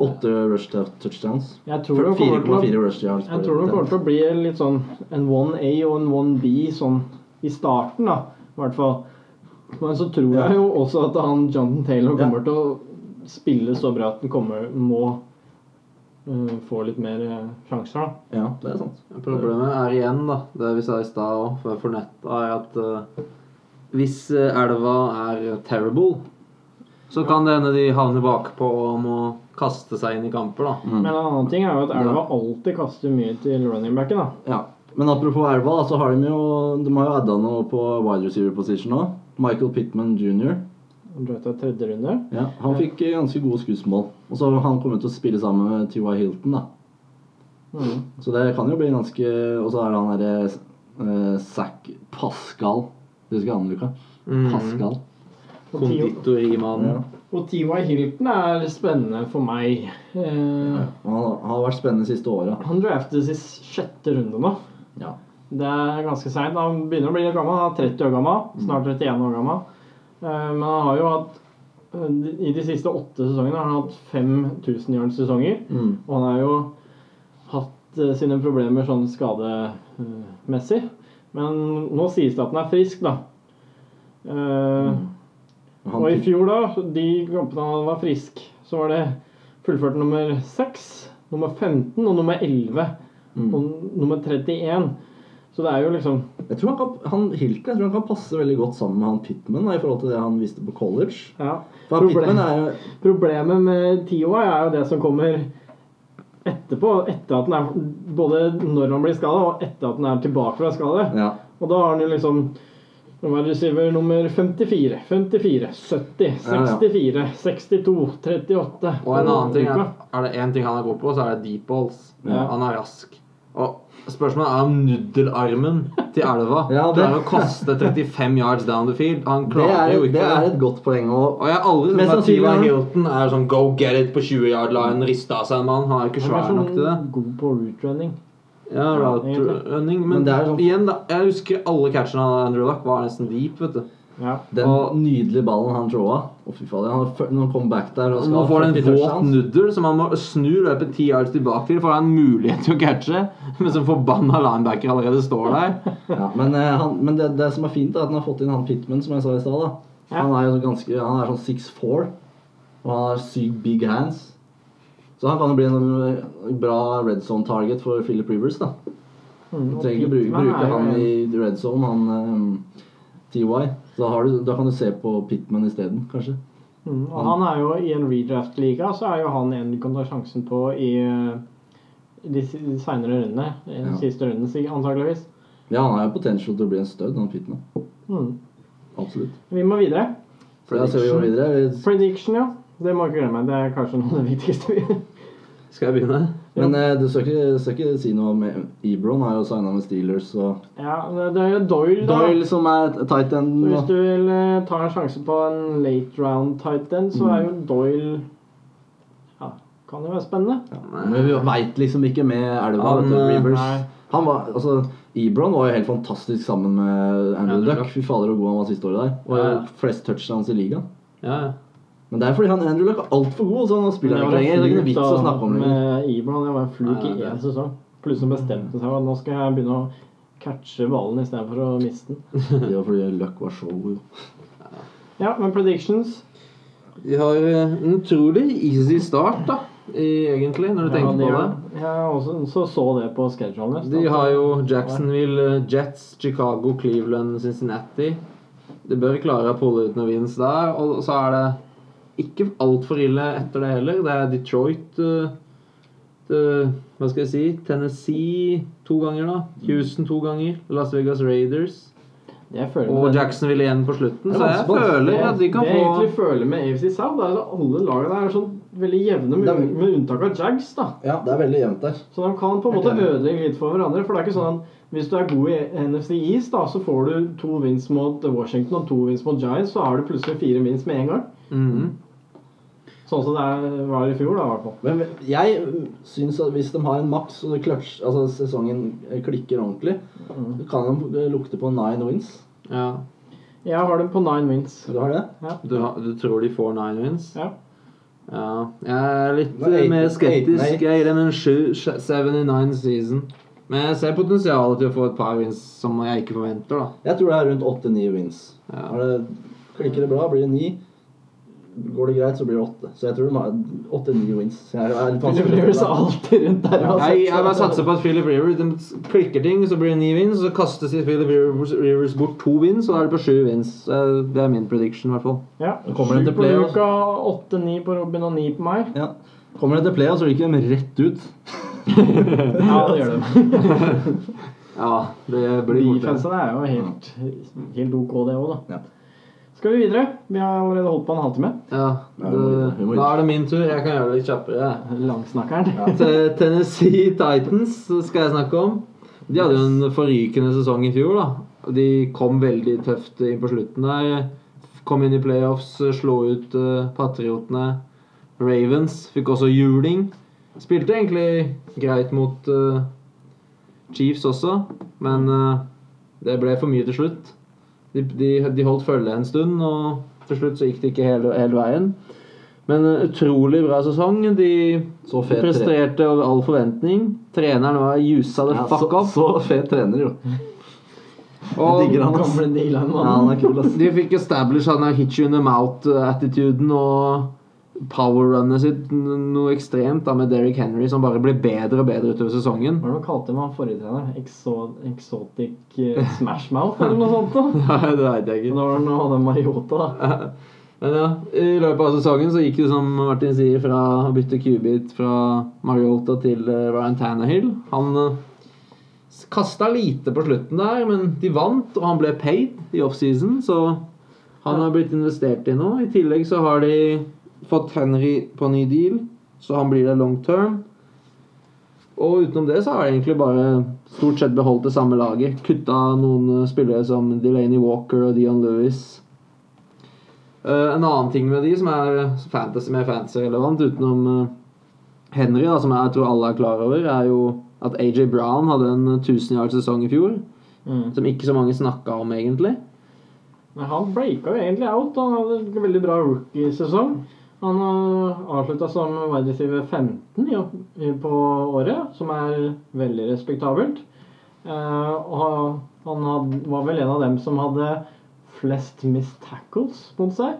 B: Åtte rush touchdowns.
A: Jeg tror det kommer til å
B: 4,4 rush yards.
A: Jeg tror det kommer til å bli litt sånn en 1A og en 1B sånn i starten, da. I hvert fall. Men så tror
B: Ja.
A: jeg jo også at han Jonathan Taylor
B: Ja.
A: kommer til å spille så bra at han kommer, må eh, få litt mer eh, sjanser, da.
B: Ja, det er sant.
C: Problemet er igjen, da, det vi sa i stad òg, for for nettet er at eh, hvis eh, elva er terrible, så kan det hende de havner bakpå og må kaste seg inn i kamper, da.
B: Mm.
A: Men en annen ting er jo at Elva alltid kaster mye til running backen, da.
B: Ja. Men apropos elva, da, så har de jo De har jo adda noe på wide receiver position nå. Michael Pittman jr.
A: Han drøyt av tredje runde.
B: Ja, han fikk eh, ganske gode skussmål. Og så har han kommet til å spille sammen med T.Y. Hilton, da.
A: Mhm.
B: Så det kan jo bli ganske Og så er det han derre eh, Zack Pascal. Du husker han, Luka?
A: Og T.Y.
B: Pascal. Mm. Ja.
C: Konditorimannen.
A: Og T.Y. Hilton er spennende for meg. Eh,
B: Og Han han har vært spennende de siste åra.
A: han draftes i sjette runde nå.
B: Ja.
A: Det er ganske seint. Han begynner å bli litt gammel. Han er 30 år gammel. Snart 31 år gammel. Eh, Men han har jo hatt eh, I de siste åtte sesongene har han hatt 5000 yards-sesonger.
B: Mm.
A: Og han har jo hatt eh, sine problemer sånn skademessig. Men nå sies det at han er frisk, da. Eh,
B: Han,
A: Og i fjor, da, de kampene han var frisk, så var det fullført nummer 6, nummer 15 og nummer 11.
B: mm.
A: Og nummer 31. Så det er jo liksom
B: Jeg tror han kan, han, Hilton jeg tror han kan passe veldig godt sammen med han Pittman da, i forhold til det han viste på college.
A: Ja.
B: For han Pittman er jo
A: Problemet med TOI er jo det som kommer etterpå. Etter at den er, både når han blir skada, og etter at den er tilbake fra skade.
B: ja.
A: Og da har han jo liksom nå var receiver nummer 54, 54, 70,
B: Ja, ja.
A: 64, 62, 38
C: Og en annen ting er,
A: Uka.
C: er det én ting han er god på, så er det deep balls.
A: Ja.
C: Han er rask. Og spørsmålet er om nuddelarmen til elva
B: Ja, det-
C: pleier å koste 35 yards down the field. Han
B: Det
C: klarer
B: er,
C: jo ikke
B: det er et godt poeng. Og
C: Og jeg har aldri
B: Mest
C: sett at Tiva
B: sannsynlig-
C: Hilton er sånn go get it på 20 yard line, rista av seg en mann. Han er jo ikke
A: Han
C: svær
A: er
C: nok til det.
A: sånn god på route running.
C: Ja, route
A: egentlig.
C: running, men,
B: Men det er sånn-
C: igjen, da. Jeg husker alle catchene av Andrew Luck var nesten deep, vet du.
A: Ja.
B: den
C: Og-
B: nydelige ballen han tråda Å, fy fader. Han har fø- når han kom back der og
C: Og
B: skal
C: Nå
B: ha
C: får han
B: 40
C: en våt
B: touchdowns.
C: nuddel som han må snu løpet ti yards tilbake til for han har en mulighet til å catche, men som forbanna linebacker allerede står der.
B: Ja, men eh, han, men det, det som er fint, er at han har fått inn han Pittman, som jeg sa i stad. da.
A: Ja.
B: Han er jo så ganske, han er sånn 6'4, og han har sykt big hands. Så han kan jo bli en eh, bra red zone target for Philip Rivers. da.
A: Mm,
B: Du
A: og
B: trenger ikke bruke,
A: Pittman er
B: bruke
A: jo
B: han
A: en-
B: i red zone, han eh, TY. Så da, har du, da kan du se på Pittman isteden, kanskje.
A: Mm, og han er jo i en redraft-liga, så er jo han en du kan ta sjansen på i eh, de si- de seinere rundene. I den
B: Ja.
A: siste runden, sig- antakeligvis.
B: Ja, han har jo potensial til å bli en stud, han Pittman.
A: Mm.
B: Absolutt.
A: Vi må videre.
B: For da ser vi jo videre. Vi-
A: Prediction, ja. Det må jeg ikke glemme. Det er kanskje noe av det viktigste. vi-
C: Skal jeg begynne?
B: Men eh, du skal ikke, skal ikke si noe om Ebron. Har jo signa med Steelers og
A: ja, det det er jo Doyle, da.
B: Doyle som er tight end.
A: Så
B: da.
A: hvis du vil eh, ta en sjanse på en late round tight end, så
B: Mm.
A: er jo Doyle Ja, kan jo være spennende.
B: Men vi veit liksom ikke med elva.
C: Han,
B: vet du, Rivers.
A: nei.
B: Han var, altså, Ebron var jo helt fantastisk sammen med Andrew
C: Andrew
B: Luck.
C: Luck.
B: Fy fader så god han var siste året der. Og
C: Ja, ja.
B: flest touchdowns i ligaen.
C: Ja, ja.
B: Men det er fordi han, Andrew Luck er altfor god, så han spiller ikke lenger. Det er ikke noe vits å snakke om lenger.
A: med Ibron. Det var en fluk
C: Nei,
A: i
C: det-
A: én sesong. Plutselig bestemte seg for at nå skal jeg begynne å catche ballen istedenfor å miste den.
B: Det var fordi Luck var så god.
A: Ja, men predictions
C: De har eh, en utrolig easy start, da, i, egentlig, når du tenker
A: ja,
C: på det.
A: det. Jeg også, så, så det på schedulen. deres,
C: De
A: da.
C: har jo Jacksonville, eh, Jets, Chicago, Cleveland, Cincinnati. De bør klare å pulle ut noe vinst der. Og så er det ikke altfor ille etter det heller. Det er Detroit eh, eh, Hva skal jeg si? Tennessee to ganger, da. Houston to ganger. Las Vegas Raiders.
A: Jeg føler
C: Og
A: med-
C: Jacksonville igjen på slutten.
B: Det er
C: Så
B: vanskelig.
C: jeg føler at de kan
A: det jeg
C: få
A: egentlig føler med AFC South, er at alle lagene der er sånn veldig jevne, med,
B: Det er-
A: med unntak av Jags. da.
B: Ja, det er veldig jevnt der.
A: Så de kan på en måte ødelegge litt for hverandre. For det er ikke sånn at hvis du er god i NFC East, da, så får du to wins mot Washington og to wins mot Giants, så har du plutselig fire wins med en gang.
C: Mhm.
A: Sånn som det er- var i fjor, da, i hvert fall.
B: Men jeg syns at hvis de har en maks og det clutch, altså sesongen klikker ordentlig, så kan de eh, lukte på nine wins.
C: Ja.
A: Jeg har dem på nine wins.
B: Du har det?
C: Du, har- du tror de får nine wins?
A: Ja.
C: Ja, jeg er litt
B: Nei,
C: eh, mer
B: eight- eight,
C: skeptisk.
B: nei.
C: Jeg gir dem en 7-79 season. Men jeg ser potensialet til å få et par wins som jeg ikke forventer. da.
B: Jeg tror det er rundt åtte-ni wins.
C: Ja.
B: Er det, klikker det bra, blir det ni. Går det greit, så blir det åtte. Så jeg tror de har åtte-ni wins. Så Jeg er litt
A: Philip
B: vanskelig å
A: Rivers
B: tro
A: er
B: det.
A: alltid rundt der. altså.
C: Jeg, jeg bare satser på at Philip Rivers de klikker ting, så blir det ni wins. Så kastes Philip Rivers, Rivers bort to wins, og da er det på sju wins. Eh, Det er min prediction, i hvert fall.
A: Ja.
B: Da kommer de
A: Sju
B: til
A: på
B: playoff.
A: Luka, åtte-ni på Robin og ni på meg.
B: ja. Kommer det til playoff, så ryker de rett ut.
A: Ja, det gjør de.
C: Ja, det blir borte.
A: Defensen er jo helt, helt OK, det òg, da.
B: Ja.
A: Skal vi videre? Vi har allerede holdt på en halvtime.
C: Ja, det, da er det min tur. Jeg kan gjøre det litt kjappere. jeg.
A: Langsnakkeren.
C: Te- eh, Tennessee Titans skal jeg snakke om. De hadde jo en forrykende sesong i fjor. da De kom veldig tøft inn på slutten der. Kom inn i playoffs, slo ut eh, Patriotene. Ravens fikk også juling. Spilte egentlig greit mot eh, Chiefs også, men eh, det ble for mye til slutt. De, de, de holdt følge en stund, og til slutt så gikk det ikke hele, hele veien. Men eh, utrolig bra sesong. De
B: Så
C: de
B: fet tre-
C: Presterte over all forventning. Treneren var jusa det
B: ja,
C: fuck
B: så,
C: off.
B: så fet trener, jo.
C: Og
B: digger han, ass.
A: Gamle Dylan,
B: Ja,
A: mann.
B: han er kul, ass.
C: de fikk establish han der hit you in the mouth-attituden og power-runnet sitt n- noe ekstremt da med Derrick Henry, som bare ble bedre og bedre utover sesongen.
A: Hva var det de kalte man forrige trener? Exo exotic eh, smash mouth, eller noe sånt? da?
C: Nei, det vet jeg ikke.
A: Nå var det noe av den Mariota, da.
C: Men ja, I løpet av sesongen så gikk det som Martin sier, fra å bytte kubit fra Mariota til eh, Ryan Tannehill. Han kasta lite på slutten der, men de vant, og han ble paid i offseason, så han har blitt investert i nå. I tillegg så har de fått Henry på ny deal, så han blir der long term. Og utenom det så har de egentlig bare stort sett beholdt det samme laget. Kutta noen eh, spillere som Delaney Walker og Dion Lewis. Eh, en annen ting med de som er fantasy mer fantasy-relevant, utenom eh, Henry, da, som jeg tror alle er klar over, er jo at AJ Brown hadde en 1000 yards-sesong i fjor.
A: Mm.
C: Som ikke så mange snakka om, egentlig.
A: Men han breaka jo egentlig out. Han hadde en veldig bra rookie-sesong. Han avslutta som wide receiver 15 i, i- på året, som er veldig respektabelt. Eh, og han- han had, var vel en av dem som hadde flest missed tackles mot seg.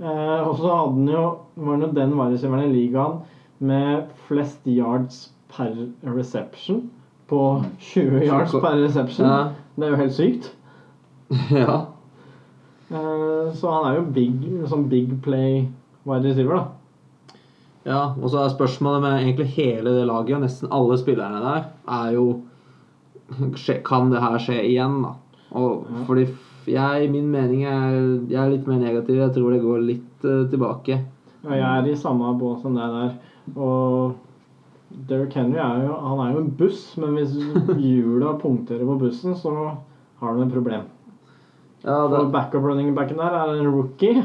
A: Eh, og så hadde han jo, var han jo den wide receiveren i ligaen med flest yards per reception. På 20 yards per reception.
C: Ja.
A: Det er jo helt sykt.
C: ja.
A: Eh, Så han er jo big, sånn big play wide receiver, da.
C: Ja, og så er spørsmålet med egentlig hele det laget og nesten alle spillerne der, er jo skje- Kan det her skje igjen, da? Og
A: Ja.
C: fordi f- jeg, min mening er Jeg er litt mer negativ. Jeg tror det går litt eh, tilbake.
A: Og jeg er i samme båt som deg der. Og Derrick Henry er jo, han er jo en buss, men hvis hjula punkterer på bussen, så har han et problem.
C: Ja, det,
A: Og backup running backen der er en rookie,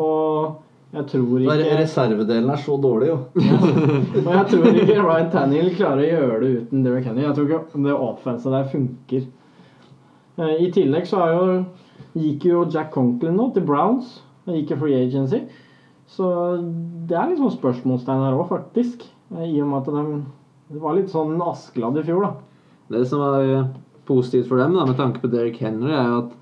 A: og jeg tror
B: Bare
A: ikke
B: Reservedelen er så dårlig, jo.
A: Og jeg tror ikke Ryan Tannehill klarer å gjøre det uten Derrick Henry. Jeg tror ikke det offenset der funker. Eh, I tillegg så er jo, gikk jo Jack Conklin nå til Browns. Han gikk i free agency. Så det er litt sånn spørsmålstegn her òg, faktisk. Eh, I og med at de det var litt sånn askeladd i fjor, da.
C: det som er eh, positivt for dem, da, med tanke på Derek Henry, er jo at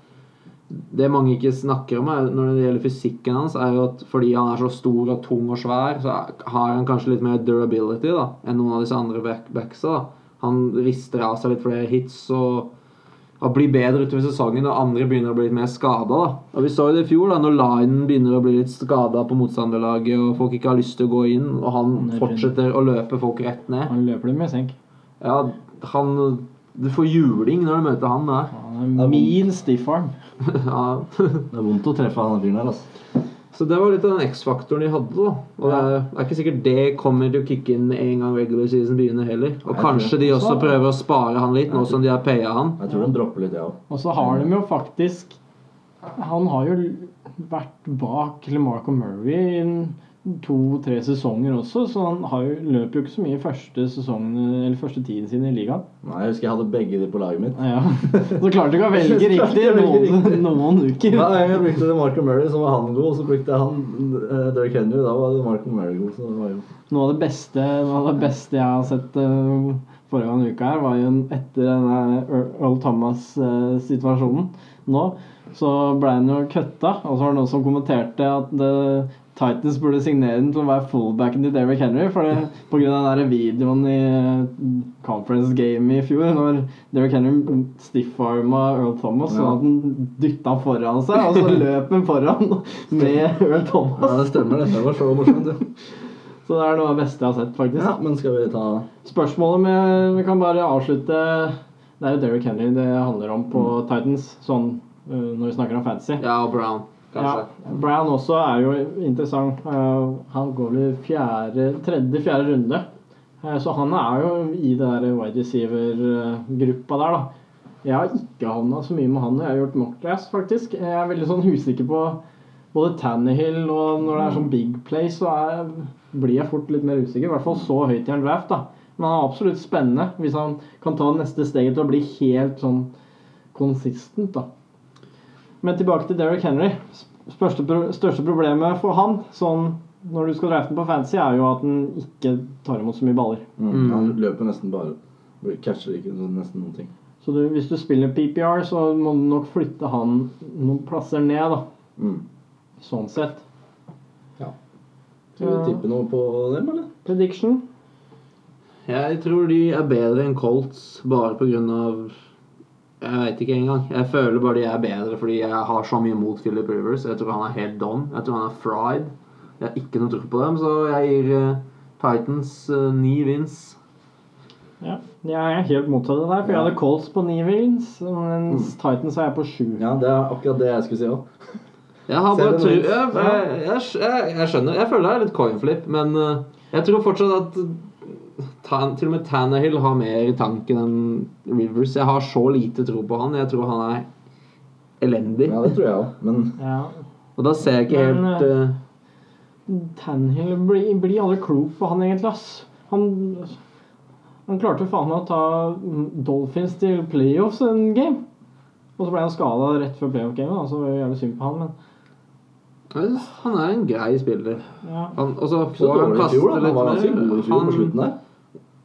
C: det mange ikke snakker om er, når det gjelder fysikken hans, er jo at fordi han er så stor og tung og svær, så er- har han kanskje litt mer durability da, enn noen av disse andre back backsa. da. Han rister av seg litt flere hits og, og blir bedre utover sesongen når andre begynner å bli litt mer skada. Vi så jo det i fjor, da, når linen begynner å bli litt skada på motstanderlaget og folk ikke har lyst til å gå inn, og han
A: Nei,
C: fortsetter å løpe folk rett ned.
A: Han løper dem i senk.
C: Ja, han Du får juling når du møter han der.
A: Han er min stiff arm.
C: Ja.
B: Det er vondt å treffe han fyren der, altså.
C: Så det var litt av den X-faktoren de hadde. da. Og det er, det er ikke sikkert det kommer til å kicke inn med en gang regular season begynner heller. Og
B: tror
C: kanskje de også prøver å spare han litt, nå som de har paya han.
B: Jeg tror den dropper litt, jeg òg.
A: Og så har de jo faktisk Han har jo vært bak Lemarco Murray i to-tre sesonger også, så han har jo, løper jo ikke så mye i første, sesongen- eller første tiden sin i ligaen.
B: Nei, jeg husker jeg hadde begge de på laget mitt.
A: Ja. Så klarte du ikke å velge
B: Jeg klarte
A: riktig
B: ikke å velge
A: noen, noen uker.
B: Nei, jeg brukte det Marco Murray, så var han god. Og så brukte jeg han uh, Derek Henry, da var det Marco Murray god. Så det var jo
A: Noe av det beste, noe av det beste jeg har sett eh, foregående uke her, var jo en- etter denne Ear- Earl Thomas-situasjonen nå. Så ble han jo kutta, og så var det noen som kommenterte at eh, Titans burde signere den til å være fullbacken til Derrick Henry. For det, på grunn av den der videoen i eh, conference game i fjor, når Derrick Henry stiffarma Earl Thomas, sånn
B: Ja.
A: at han dytta han foran seg, og så løp han foran med Earl
B: Ja,
A: Thomas.
B: det stemmer, det. Det var så morsomt, jo.
A: Så det er noe av det beste jeg har sett, faktisk.
B: Ja, men skal vi ta
A: Spørsmålet med Vi kan bare avslutte Det er jo Derrick Henry det handler om på Titans, sånn øh, når vi snakker om fantasy.
C: Ja, og Brown, kanskje.
A: Ja, Brown også er jo interessant. Øh, han går vel i fjerde, tredje-fjerde runde. Eh, så han er jo i det der wide receiver-gruppa der, da. Jeg har ikke havna så mye med han. Jeg har gjort mockclass, faktisk. Jeg er veldig sånn usikker på både Tannehill og når det er sånn big play, så er, blir jeg fort litt mer usikker. I hvert fall så høyt i en draft, da. Men han er absolutt spennende hvis han kan ta neste steget til å bli helt sånn konsistent, da. Men tilbake til Derrick Henry. Største, pro- største problemet for han sånn, når du skal drafte den på fantasy, er jo at han ikke tar imot så mye baller.
B: mm. Han løper nesten bare. Catcher ikke nesten noen ting.
A: Så du, hvis du spiller PPR, så må du nok flytte han noen plasser ned, da.
B: Mm.
A: Sånn sett.
B: Skal vi tippe noe på dem, eller?
A: Prediction?
C: Jeg tror de er bedre enn Colts bare på grunn av Jeg veit ikke engang. Jeg føler bare de er bedre fordi jeg har så mye mot Philip Rivers. Jeg tror han er helt don. Jeg tror han er fried. Jeg har ikke noe tro på dem, så jeg gir eh, Titans eh, ni vins.
A: Ja. Jeg er helt motsatt av deg, for jeg hadde Colts på ni wins, mens Titans er jeg på sju.
B: Ja, det er akkurat det jeg skulle si òg.
C: Jeg har
B: Ser
C: bare
B: du
C: tru...
B: noe?
C: Jeg, jeg, jeg, jeg skjønner. Jeg føler det er litt coinflip, men eh, jeg tror fortsatt at eh, Tan, til og med Tannehill har mer i tanken enn Rivers. Jeg har så lite tro på han. Jeg tror han er elendig.
B: Ja, det tror jeg òg. Men
A: Ja.
C: Og da ser jeg ikke
A: Men,
C: helt eh,
A: Tanhill blir, blir aldri klok på han egentlig, ass. Han, han klarte jo faen meg å ta Dolphins til playoffs en game. Og så ble han skada rett før playoff-gamet, da, så det var jo jævlig synd på han, men
C: jeg synes Han er en grei spiller.
A: ja.
C: Han, og så
B: så
C: får
B: dårlig
C: han
B: i
C: kaste
B: fjor, da.
C: litt
B: Han var ganske
C: mer.
B: god i fjor på
C: Han-
B: slutten der.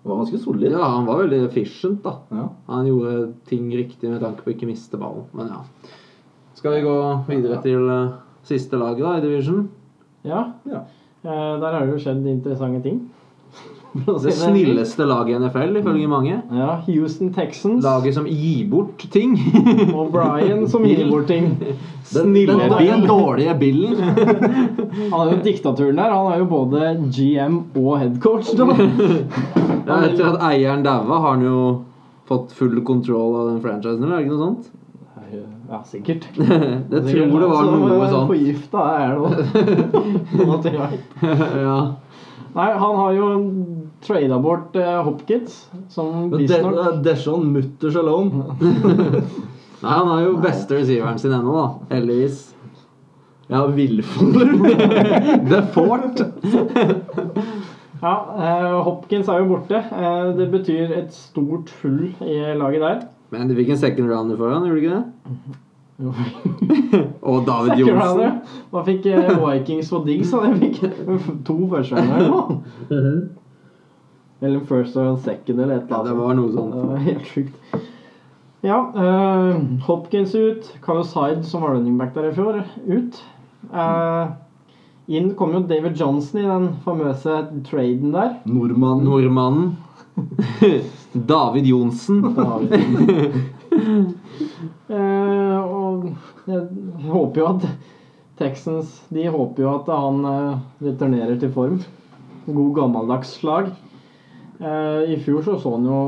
B: Han var ganske solid.
C: Ja, han var veldig efficient, da.
B: Ja.
C: Han gjorde ting riktig med tanke på ikke miste ballen, men ja. Skal vi gå videre til eh, siste laget da, i division?
A: ja.
B: Ja.
A: Eh, der har det jo skjedd interessante ting.
C: Det snilleste laget i NFL, ifølge mange.
A: Ja, Houston Texans
C: Laget som gir bort ting.
A: og Brian som gir bort ting.
B: Den, den,
C: Snille
B: den
A: Bill.
B: dårlige billen.
A: Han er jo diktaturen der. Han er jo både GM og headcoach.
C: Ja, etter at eieren daua, har han jo fått full kontroll av den franchisen, eller er det ikke noe sånt?
A: Ja, sikkert.
C: Jeg tror det var noe sånt.
A: Forgifta er det nå.
C: Ja.
A: Nei, han har jo trada bort eh, Hopkins, som
B: Men det-
A: visstnok
C: eh,
B: det- Deshaun mutter shalom.
C: Nei, han er jo beste receiveren sin ennå, da. Heldigvis.
B: Ja, Villfoller.
C: The Fort.
A: Ja, eh, Hopkins er jo borte. Eh, det betyr et stort hull i laget der.
C: Men de fikk en second rounder for han, gjorde de ikke det?
A: Jo.
C: Og David
A: Second
C: Johnsen.
A: rounder. Hva fikk eh, Vikings for diggs? da? De fikk to førsteroundere nå.
C: Mhm.
A: Eller first og second eller et eller
C: Ja,
A: annet.
C: det var noe
A: Det
C: sånt.
A: var helt sjukt. Ja, eh, Hopkins ut. Carlos Hyde, som var running back der i fjor, ut. Eh, inn kom jo David Johnson i den famøse traden der.
B: Nordmann.
C: Nordmannen. David Johnsen.
A: Eh, og jeg håper jo at Texans De håper jo at han eh, returnerer til form. God gammeldags slag. Eh, I fjor så så han jo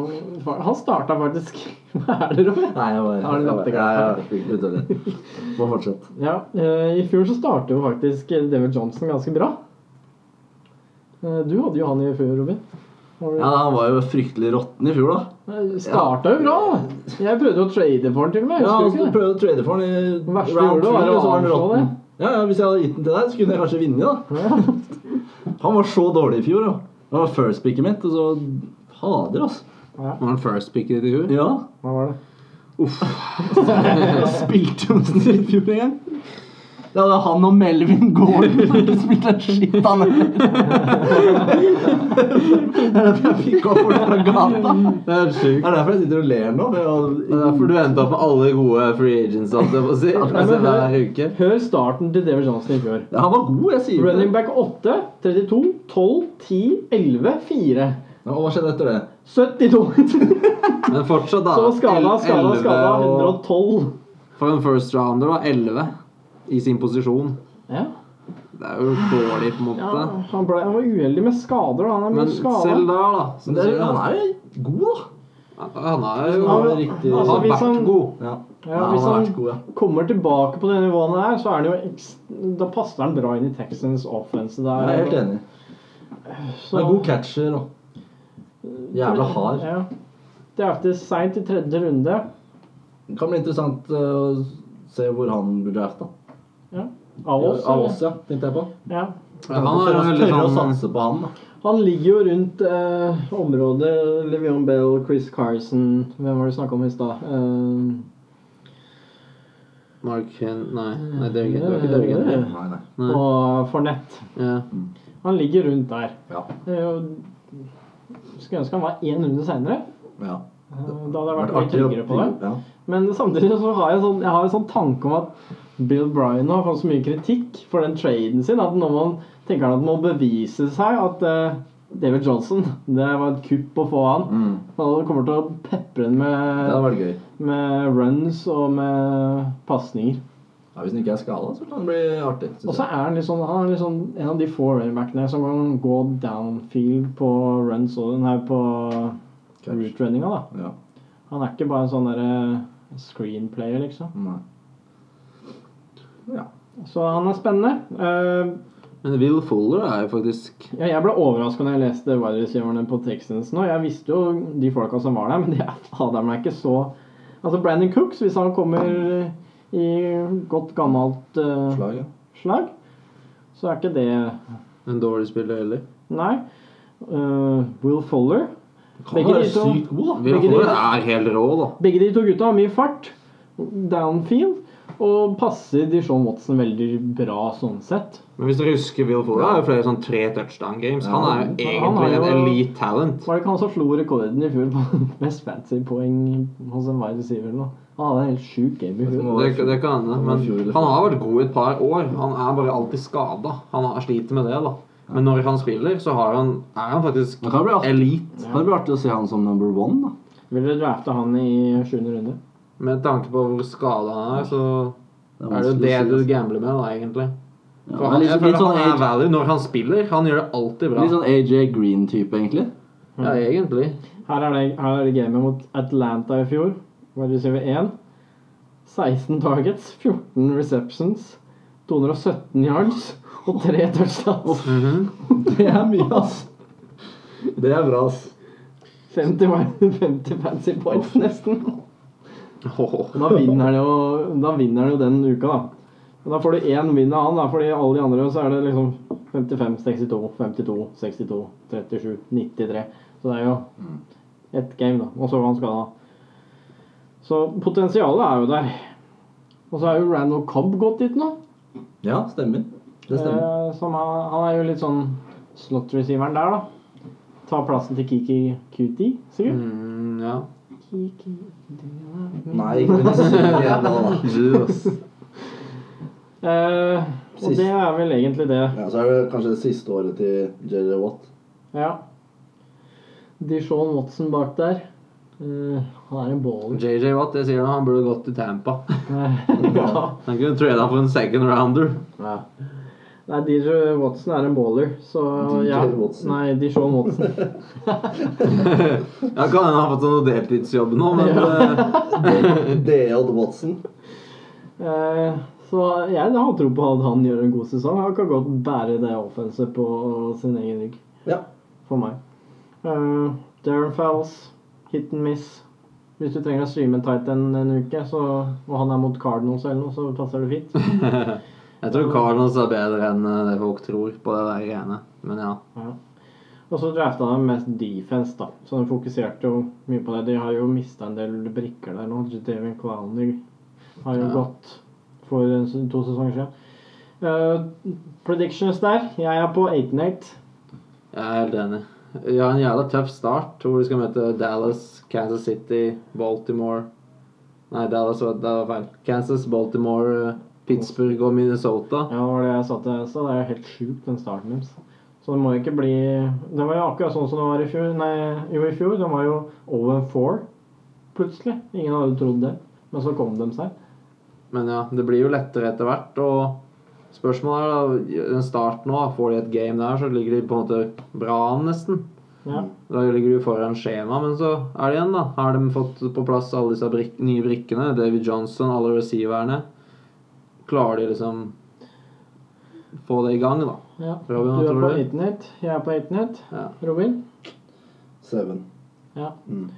A: Han starta faktisk Hva er det, Robin?
B: Nei, jeg bare,
A: Har du latt det gå?
B: Ja, ja, ja. Fikk litt dårlig. Må fortsette.
A: Ja, eh, I fjor så startet jo faktisk David Johnson ganske bra. Eh, Du hadde jo han i fjor, Robin. Var du-
B: Ja, Han var jo fryktelig råtten i fjor, da.
A: Eh, Starta jo bra! Jeg prøvde å trade for han til og med.
B: Ja,
A: Husker
B: Han
A: du ikke
B: skulle
A: det?
B: prøve å trade for han i
A: verste
B: round
A: gjorde
B: two,
A: var å
B: og så var han
A: avslå
B: råtten.
A: det.
B: Ja, ja, Hvis jeg hadde gitt den til deg, så kunne jeg kanskje vunnet. da. Han var så dårlig i fjor. da. Han var first picket mitt, og så Fader, altså.
C: Var han first pick i huet?
B: Ja.
A: Hva var det?
B: Jeg spilte jo nesten i fjor en gang. Det var han og Melvin Gordon som ikke spilte en skitt av det. Det er derfor jeg fikk opp folk fra gata.
C: Det er
B: Det
C: sjukt.
B: er derfor jeg sitter og ler nå. for jeg-
C: Det er derfor du endte opp med alle gode free agents, holdt jeg på å si. Altså, hver uke.
A: Hør starten til David Johnson i fjor.
B: Ja, han var god, jeg sier
A: Running
B: det.
A: back 8, 32, 12, 10, 11, 4.
B: Ja, hva skjedde etter det?
A: 72.
C: Men fortsatt, da.
A: Så skada, skada,
C: 11
A: skada.
C: og-
A: 112.
C: For en first rounder, da. 11 i sin posisjon.
A: Ja,
C: Det er jo dårlig, på en måte.
A: ja han, ble, han var uheldig med skader, da. Han er
C: Men
A: mye
C: selv
A: skada.
C: der, da. Som
B: Men
C: du
B: det
C: sier,
B: er,
C: da.
B: han er jo god, da.
C: Han er jo
B: Han
C: han
B: er
C: har
B: riktig-
A: altså, hvis
C: vært
A: han-
C: god.
B: Ja.
A: Ja,
B: han
A: hvis
B: har
A: han-
B: vært god, ja.
A: Kommer tilbake på det nivået der, så er det jo ekst... Da passer han bra inn i Texans offense der.
B: Jeg er helt enig.
A: Så-
B: Han er god catcher og jævla hard.
A: Ja. Det er alltid seint i tredje runde.
B: Det kan bli interessant eh, å se hvor han blir drafta.
A: Av oss.
B: Av
A: eller?
B: oss, ja. Tenkte jeg på.
A: Ja.
C: Ja, han har
B: Tørre
C: en
B: å-
C: veldig
B: tørre å
C: sånn
B: satse på han, da.
A: Han ligger jo rundt eh, området Levion Bell, Chris Carson Hvem var det du snakka om i stad? Eh,
C: Mark Hen... Nei, nei det er ikke det. Var ikke Derrick Henry.
B: Nei, nei.
C: Nei.
A: og Fornett.
C: Ja.
A: Han ligger rundt der.
B: Ja.
A: Det er jo Skulle ønske han var én runde seinere.
B: ja.
A: Da hadde jeg vært litt tryggere på det.
B: Ja.
A: Men samtidig så har jeg, sånn, jeg har en sånn tanke om at Bill Bryan har fått så mye kritikk for den traden sin at når man tenker han at man må bevise seg at eh, David Johnson Det var et kupp å få han.
B: Mm.
A: Han kommer til å pepre den
B: Det hadde
A: med,
B: vært gøy.
A: med runs og med pasninger.
B: Ja, hvis den ikke er skada, så kan det bli artig. synes
A: Og så
B: jeg.
A: er han litt sånn, han er litt sånn en av de få running-backene som kan gå downfield på runs og den her på
B: Catch.
A: route-runninga. da.
B: Ja.
A: Han er ikke bare en sånn derre screenplayer, liksom.
B: Nei.
A: Så han er spennende. Eh,
C: Men Will Fuller er jo faktisk
A: Ja, jeg ble overraska når jeg leste wide receiverne på Texans nå. Jeg visste jo de folka som var der, men de er fader meg ikke så Altså Brandon Cooks, hvis han kommer i godt gammelt eh,
B: Slag, ja.
A: slag, så er ikke det
C: en dårlig spiller heller.
A: Nei. Eh, Will Fuller.
B: Han
A: Begge
B: er
A: de to.
B: sykt god, da.
C: Will
A: Begge
C: Fuller
A: de-
C: er helt rå, da.
A: Begge de to gutta har mye fart. Downfield. Og passer Dishon Watson veldig bra sånn sett.
C: Men hvis dere husker Will Fuller, har jo flere sånn tre touchdown games.
B: Ja,
C: Han er jo
A: han
C: egentlig
A: har jo-
C: en elite talent.
A: Var det ikke han som slo rekorden i fjor på mest fancy-poeng hos en wide receiver? nå? Han hadde en helt sjuk game i
B: Vet du
A: fjor.
B: hva?
C: Det, det kan hende. Men
B: liksom.
C: han har vært god i et par år. Han er bare alltid skada. Han har- sliter med det, da. Men når han spiller, så har han, er han faktisk
B: Det kan bli artig.
C: elite.
B: Det kan bli artig å se han som number one, da.
A: Vil dere drafte han i sjuende runde?
C: Med tanke på hvor skada han er, så
B: Det
C: er det jo
B: vanskelig
C: det
B: å si,
C: du
B: altså.
C: gambler med, da, egentlig.
B: Ja,
C: For
B: men
C: han,
B: litt,
C: jeg
B: litt
C: føler
B: sånn
C: han er liksom
B: AJ,
C: value når han spiller. Han gjør det alltid bra.
B: litt sånn AJ Green-type, egentlig.
C: Ja, egentlig.
A: Her er det, her er det gamet mot Atlanta i fjor. Wide receiver 1. 16 targets, 14 receptions, 217 yards og 3 touchdowns.
C: Mhm.
B: Det er mye, ass. Det er bra, ass.
A: 50, wide- 50 fancy points, nesten.
C: Hoho.
A: Da vinner han jo, da vinner han jo den uka, da. Og da får du én vinn av han, da, fordi alle de andre så er det liksom 55, 62, 52, 62, 37, 93. Så det er jo ett game, da. Og så var han skada. Så potensialet er jo der. Og så er jo Randall Cobb gått dit nå.
B: Ja, stemmer. Det stemmer.
A: Eh, som er, han er jo litt sånn slot-receiveren der, da. Tar plassen til Kiki Cutie, sikkert.
C: Mm, ja.
A: Kiki
B: Nei, ikke det. da.
C: Du, ass.
A: eh, Og
B: Sist.
A: det er vel egentlig det.
B: Ja, så er det kanskje det siste året til JJ Watt.
A: Ja. Dishon Watson bak der. Eh, han er en baller.
C: JJ Watt, jeg sier det, han burde gått til Tampa.
A: ja.
C: Han kunne trade han for en second rounder.
A: Nei, DJ Watson er en baller, så
B: DJ
A: ja.
B: Watson.
A: Nei, Dishon Watson.
C: Ja, kan hende han har fått seg noe deltidsjobb nå, men eh,
B: DJ Watson.
A: Eh, så jeg har tro på at han gjør en god sesong. Han kan godt bære det offenset på sin egen rygg,
B: Ja.
A: for meg. Eh, Darren Fowles, hit and miss. Hvis du trenger å streame en tight end en uke, så, og han er mot Cardinals eller noe, så passer det fint.
C: jeg tror Cardinals er bedre enn eh, det folk tror på det der greiene. Men ja.
A: Og så drafta de mest defense, da. Så de fokuserte jo mye på det. De har jo mista en del brikker der nå. Davin Clowney har jo
C: Ja.
A: gått for en s- to sesonger siden. Eh, predictions der. Jeg er på 8-8.
C: Jeg er helt enig. Vi har en jævla tøff start hvor de skal møte Dallas, Kansas City, Baltimore Nei, Dallas var, det var feil. Kansas, Baltimore, eh, Pittsburgh og Minnesota.
A: Ja, det var det jeg sa til deg. Så det er jo helt sjukt, den starten deres. Så det må jo ikke bli Det var jo akkurat sånn som det var i fjor. Nei, jo, i fjor. De var jo over 4 plutselig. Ingen hadde trodd det. Men så kom de seg.
C: Men ja, det blir jo lettere etter hvert. Og spørsmålet er da, den starten nå, får de et game der, så ligger de på en måte bra an, nesten.
A: Ja.
C: Da ligger de foran skjema, men så er det igjen, da. Har de fått på plass alle disse brik nye brikkene? David Johnson, alle receiverne. Klarer de liksom få det i gang, da?
A: ja.
C: Robin, hva
A: du er
C: tror
A: på
C: du?
A: 8-8. Jeg er på 8-8.
C: Ja.
A: Robin?
B: Seven.
A: Ja.
B: Mm.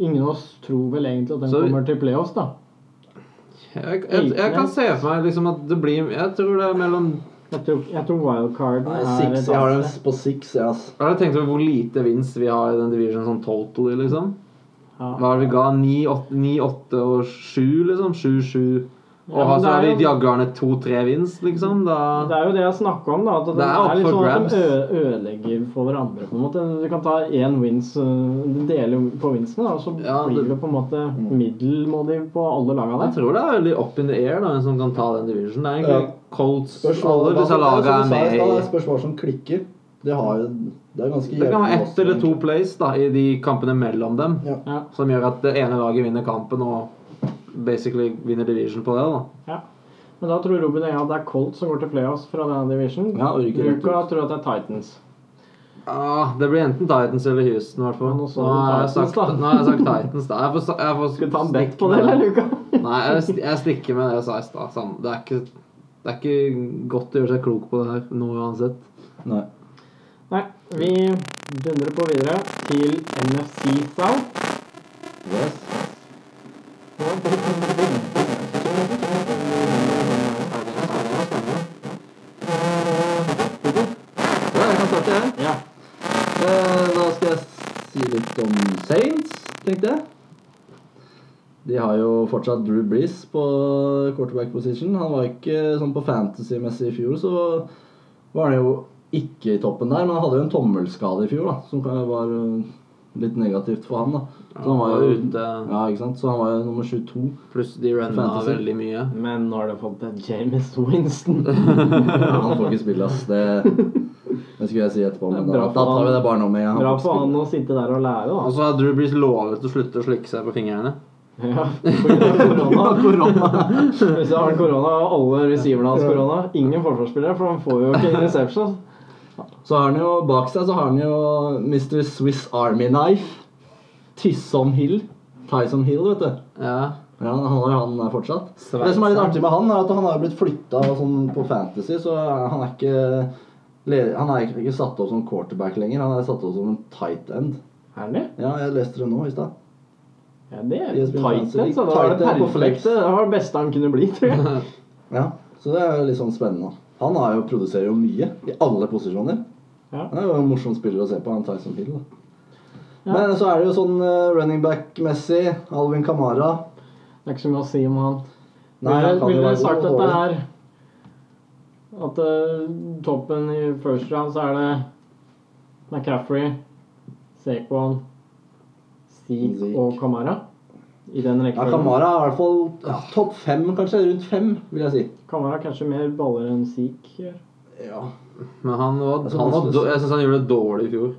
A: Ingen av oss tror vel egentlig at den
C: Så-
A: kommer til playoffs, da.
C: Jeg, jeg, jeg kan se for meg liksom at det blir Jeg tror det er mellom
A: Jeg tror, jeg tror wildcard
B: Nei,
A: er
B: six.
A: et
B: Jeg har
A: annet
B: dem
A: sted.
B: på six, jeg, ass.
C: Jeg har tenkt over hvor lite vinst vi har i den divisjonen sånn totally, liksom.
A: Ja.
C: Hva er det vi ga? 9-8 og 7, liksom? 7-7. Og
A: Ja, men
C: så
A: det
C: er
A: er
C: vi
A: jo-
C: jaggerne 2-3 vinst, liksom. Da
A: Det er jo det jeg snakka om, da. At det,
C: Det er
A: er,
C: opp
A: litt
C: for
A: sånn at
C: grabs.
A: de ø- ødelegger for hverandre, på en måte. Du kan ta én wins, ø, du deler jo på winsten, da, og så
C: Ja, det-
A: blir det på en måte middelmådig på alle laga
C: jeg
A: der.
C: tror det er veldig up in the air, da, hvem som kan ta den divisjonen. Det er
B: Ja.
C: egentlig Colts Alle disse lagene er med i
B: spørsmål som klikker. Det, har, jo- det er ganske
C: Det kan være
B: jevn
C: ett
B: også,
C: eller to
B: egentlig.
C: plays da, i de kampene mellom dem
B: Ja.
A: Ja.
C: som gjør at det ene laget vinner kampen og basically vinner division på det. da.
A: ja. Men da tror Robin og jeg at det er Colt som går til playoffs fra denne division.
B: Ja, og rykker rett ut.
A: Ruka tror at det er Titans.
C: Ah, det blir enten Titans eller Houston, i hvert fall.
A: Ja, nå sa
C: Nå
A: du
C: har jeg
A: Titans,
C: sagt
A: da.
C: nå har jeg sagt Titans. da. Jeg får, sa- jeg får
A: Skal vi ta en bet
C: stikke
A: på det,
C: med
A: eller, Luka?
C: Nei, jeg, st- jeg stikker med det jeg sa i stad. Sånn. Det er ikke Det er ikke godt å gjøre seg klok på det her nå uansett.
B: Nei.
A: Nei, vi dundrer på videre til NFC South.
B: Yes. Ja, jeg kan starte, jeg.
A: Ja.
B: Eh, Da skal jeg si litt om Saints, tenkte jeg. De har jo fortsatt Drew Brees på quarterback position. Han var ikke sånn på fantasy-messig i fjor, så var han jo ikke i toppen der. Men han hadde jo en tommelskade i fjor, da, som kan- var eh, litt negativt for han. da. Så han var jo
C: ute.
B: Ja, ikke sant? Så han var jo nummer 22.
C: Pluss de runna
B: Fantasy.
C: veldig mye.
A: Men nå har de fått en James Winston.
B: Han får ikke spille, ass. Det, det skulle jeg si etterpå, men
A: Det er
B: da,
A: bra
B: da
A: for
B: tar vi
A: han.
B: det bare nå med en gang.
A: Bra
B: Han får
A: for
B: ikke
A: han å sitte der og lære,
C: Og
A: da.
B: Altså.
C: så har Drew Brees lovet å slutte å slikke seg på fingrene.
A: Ja, på grunn av korona.
B: spille. Korona.
A: Hvis har han korona, og alle receiverne hans korona. Ingen forsvarsspillere, for han får jo ikke interception.
B: Så har han jo bak seg så har han jo Mr. Swiss Army Knife. Tissom Hill. Tyson Hill, vet du.
C: Ja.
B: Ja, han har jo han der fortsatt.
C: Sveitser.
B: Det som er litt artig med han, er at han har jo blitt flytta sånn på Fantasy, så han er ikke leder, Han er egentlig ikke satt opp som quarterback lenger. Han er satt opp som en tight end.
A: Er han det?
B: Ja, jeg leste det nå i stad.
A: Ja, det er
B: De har spilt
A: tight end,
B: fantasy.
A: så da er det
B: Tight end på flex.
A: perfekte. Det var det beste han kunne bli, tror jeg.
B: Ja, så det er jo litt sånn spennende. Han har jo, produserer jo mye i alle posisjoner.
A: Ja.
B: Han er jo en morsom spiller å se på, han Tyson Hill. Da. Men så er det jo sånn eh, running back-messig. Alvin Kamara.
A: Det er ikke så mye å si om han.
B: Nei,
A: Ville-
B: han kan jo
A: ville jeg
B: være
A: sagt
B: god
A: at
B: og
A: det
B: dårlig.
A: er At eh, toppen i first round så er det McCaffrey, Saquon, Zeke
B: Zeke.
A: og Kamara. I den
B: Ja,
A: rekkefølgen.
B: Kamara er i hvert fall ja, topp fem, kanskje. Rundt fem, vil jeg si.
A: Kamara er kanskje mer baller enn Zeke. gjør.
B: Ja.
C: Men han var,
B: Altså,
C: han var
B: han-
C: do- Jeg syns han gjorde det dårlig i fjor.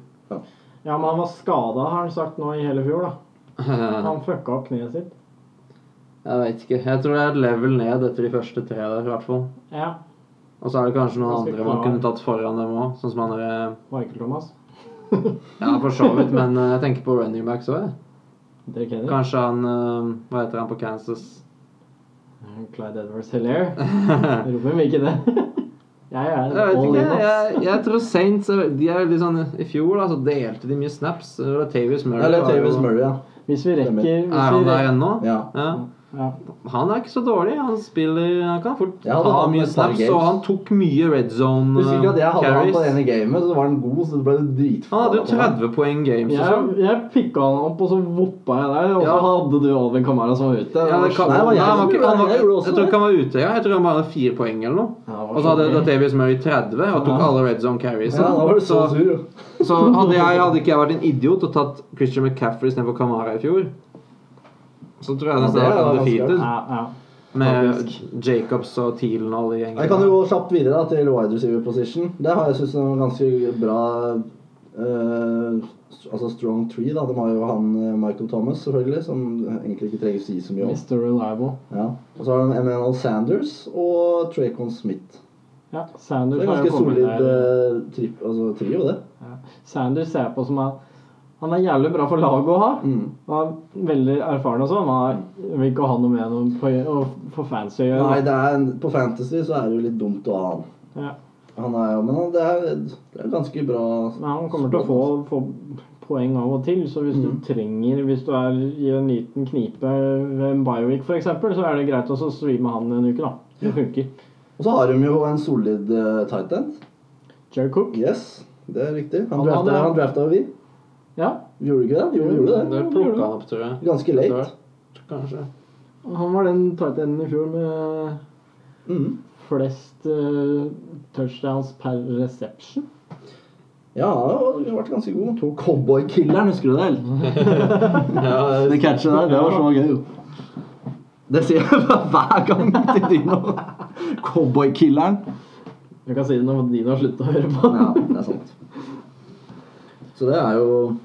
A: Ja, men han var skada, har han sagt nå i hele fjor, da. Han fucka opp kneet sitt.
C: Jeg vet ikke. Jeg tror det er et level ned etter de første tre der, i hvert fall.
A: Ja,
C: Og så er det kanskje noen
A: Ganske
C: andre man
A: klar.
C: kunne tatt foran dem òg, sånn som han der
A: Michael Thomas.
C: Ja, for så vidt, men eh, jeg tenker på running backs òg, jeg.
A: Derek Henry.
C: Kanskje han eh, Hva heter han på Kansas?
A: Clyde Edwards Hilaire. Robin vil ikke det. Jeg er
C: Jeg vet
A: all in,
C: ikke.
A: ass.
C: Jeg, jeg tror Saints er, de er veldig sånn I fjor da, så delte de mye snaps. Latavius Murray
B: Eller
C: var jo-
B: Tavis Murray, ja.
A: Hvis vi rekker hvis
C: Er han
A: vi
C: der
A: rekker,
C: ennå?
B: ja.
C: Ja.
A: ja.
C: Han er ikke så dårlig. Han spiller Han kan fort
B: Jeg hadde
C: ta
B: han
C: mye
B: med et par
C: snaps,
B: games.
C: og han tok mye red zone
B: Husker ikke at jeg hadde han
C: carries.
B: på det ene gamet, så var han god, så det ble dritfett.
C: Han hadde jo 30 poeng games. og
A: Jeg,
C: sånn.
A: jeg pikka han opp, og så voppa jeg deg. Og så
C: Ja.
A: hadde du Alvin Kamara som var ute.
C: Ja, det kan,
B: Nei,
C: nei,
B: det var jeg
C: han var
B: som
C: ikke,
B: gjorde
C: han
B: det.
C: var,
B: Jeg gjorde også
C: jeg tror
B: det.
C: ikke han var ute. Ja. Jeg tror han bare hadde fire poeng eller noe.
A: Ja, det var
C: Og så hadde
A: så gøy.
C: Latavius Murray 30 og tok alle red zone carries. liksom.
B: Ja, da var du så
C: Så-
B: sur. jo.
C: Så hadde jeg, hadde ikke jeg vært en idiot og tatt Christian McCaffrey istedenfor Kamara i fjor, så tror jeg nesten
B: Ja,
C: jeg
B: det
C: hadde
B: er
C: vært undefeated
A: Ja, ja.
C: med Jacobs og Thielen og alle de gjengene.
B: Jeg kan jo gå kjapt videre da, til wide receiver position. Det har jeg synes er en ganske bra eh, Altså strong tree. da. De har jo han eh, Michael Thomas, selvfølgelig, som egentlig ikke trenger å si så mye om.
A: Mr. Reliable.
B: Ja. Og så har de Emmanuel Sanders og Tracon Smith.
A: Ja,
B: Det
A: Sanders
B: er
A: har jo
B: ganske
A: kommet
B: solid
A: der.
B: eh, tri altså, trio, det.
A: Ja. Sanders ser jeg på som er Han er jævlig bra for laget å ha.
B: Mm.
A: Han er veldig erfaren og sånn. Han er- vil ikke ha noe med noe på, å- for fans å gjøre.
B: Nei, det er, en- på Fantasy så er det jo litt dumt å ha han.
A: Ja.
B: Han er jo, Men han, det, er, det er ganske bra
A: Men han kommer til å få, få poeng av og til, så hvis du
B: Mhm.
A: trenger Hvis du er i en liten knipe ved en bioweek f.eks., så er det greit å så streame han en uke, da. Det funker.
B: Og så har de jo en solid eh, tight end.
A: Jerry Cook.
B: Yes, det er riktig. Han
A: Han hadde-
B: drafta, han drafta jo vi.
A: Ja,
B: Gjorde du ikke det? Jo, vi gjorde det.
C: Det plukka han opp, tror jeg.
B: Ganske late.
C: Kanskje.
A: han var den tight enden i fjor med
B: Mhm.
A: flest eh, touchdowns per reception.
B: Ja, han har vært ganske god. To Cowboykilleren, husker du det? eller?
C: Ja,
B: Det catchet der, det var så gøy. jo. Det sier jeg hver gang til Dino. Cowboykilleren.
A: Du kan si det når Dino har sluttet å høre på.
B: Ja, det er sant. Så det er jo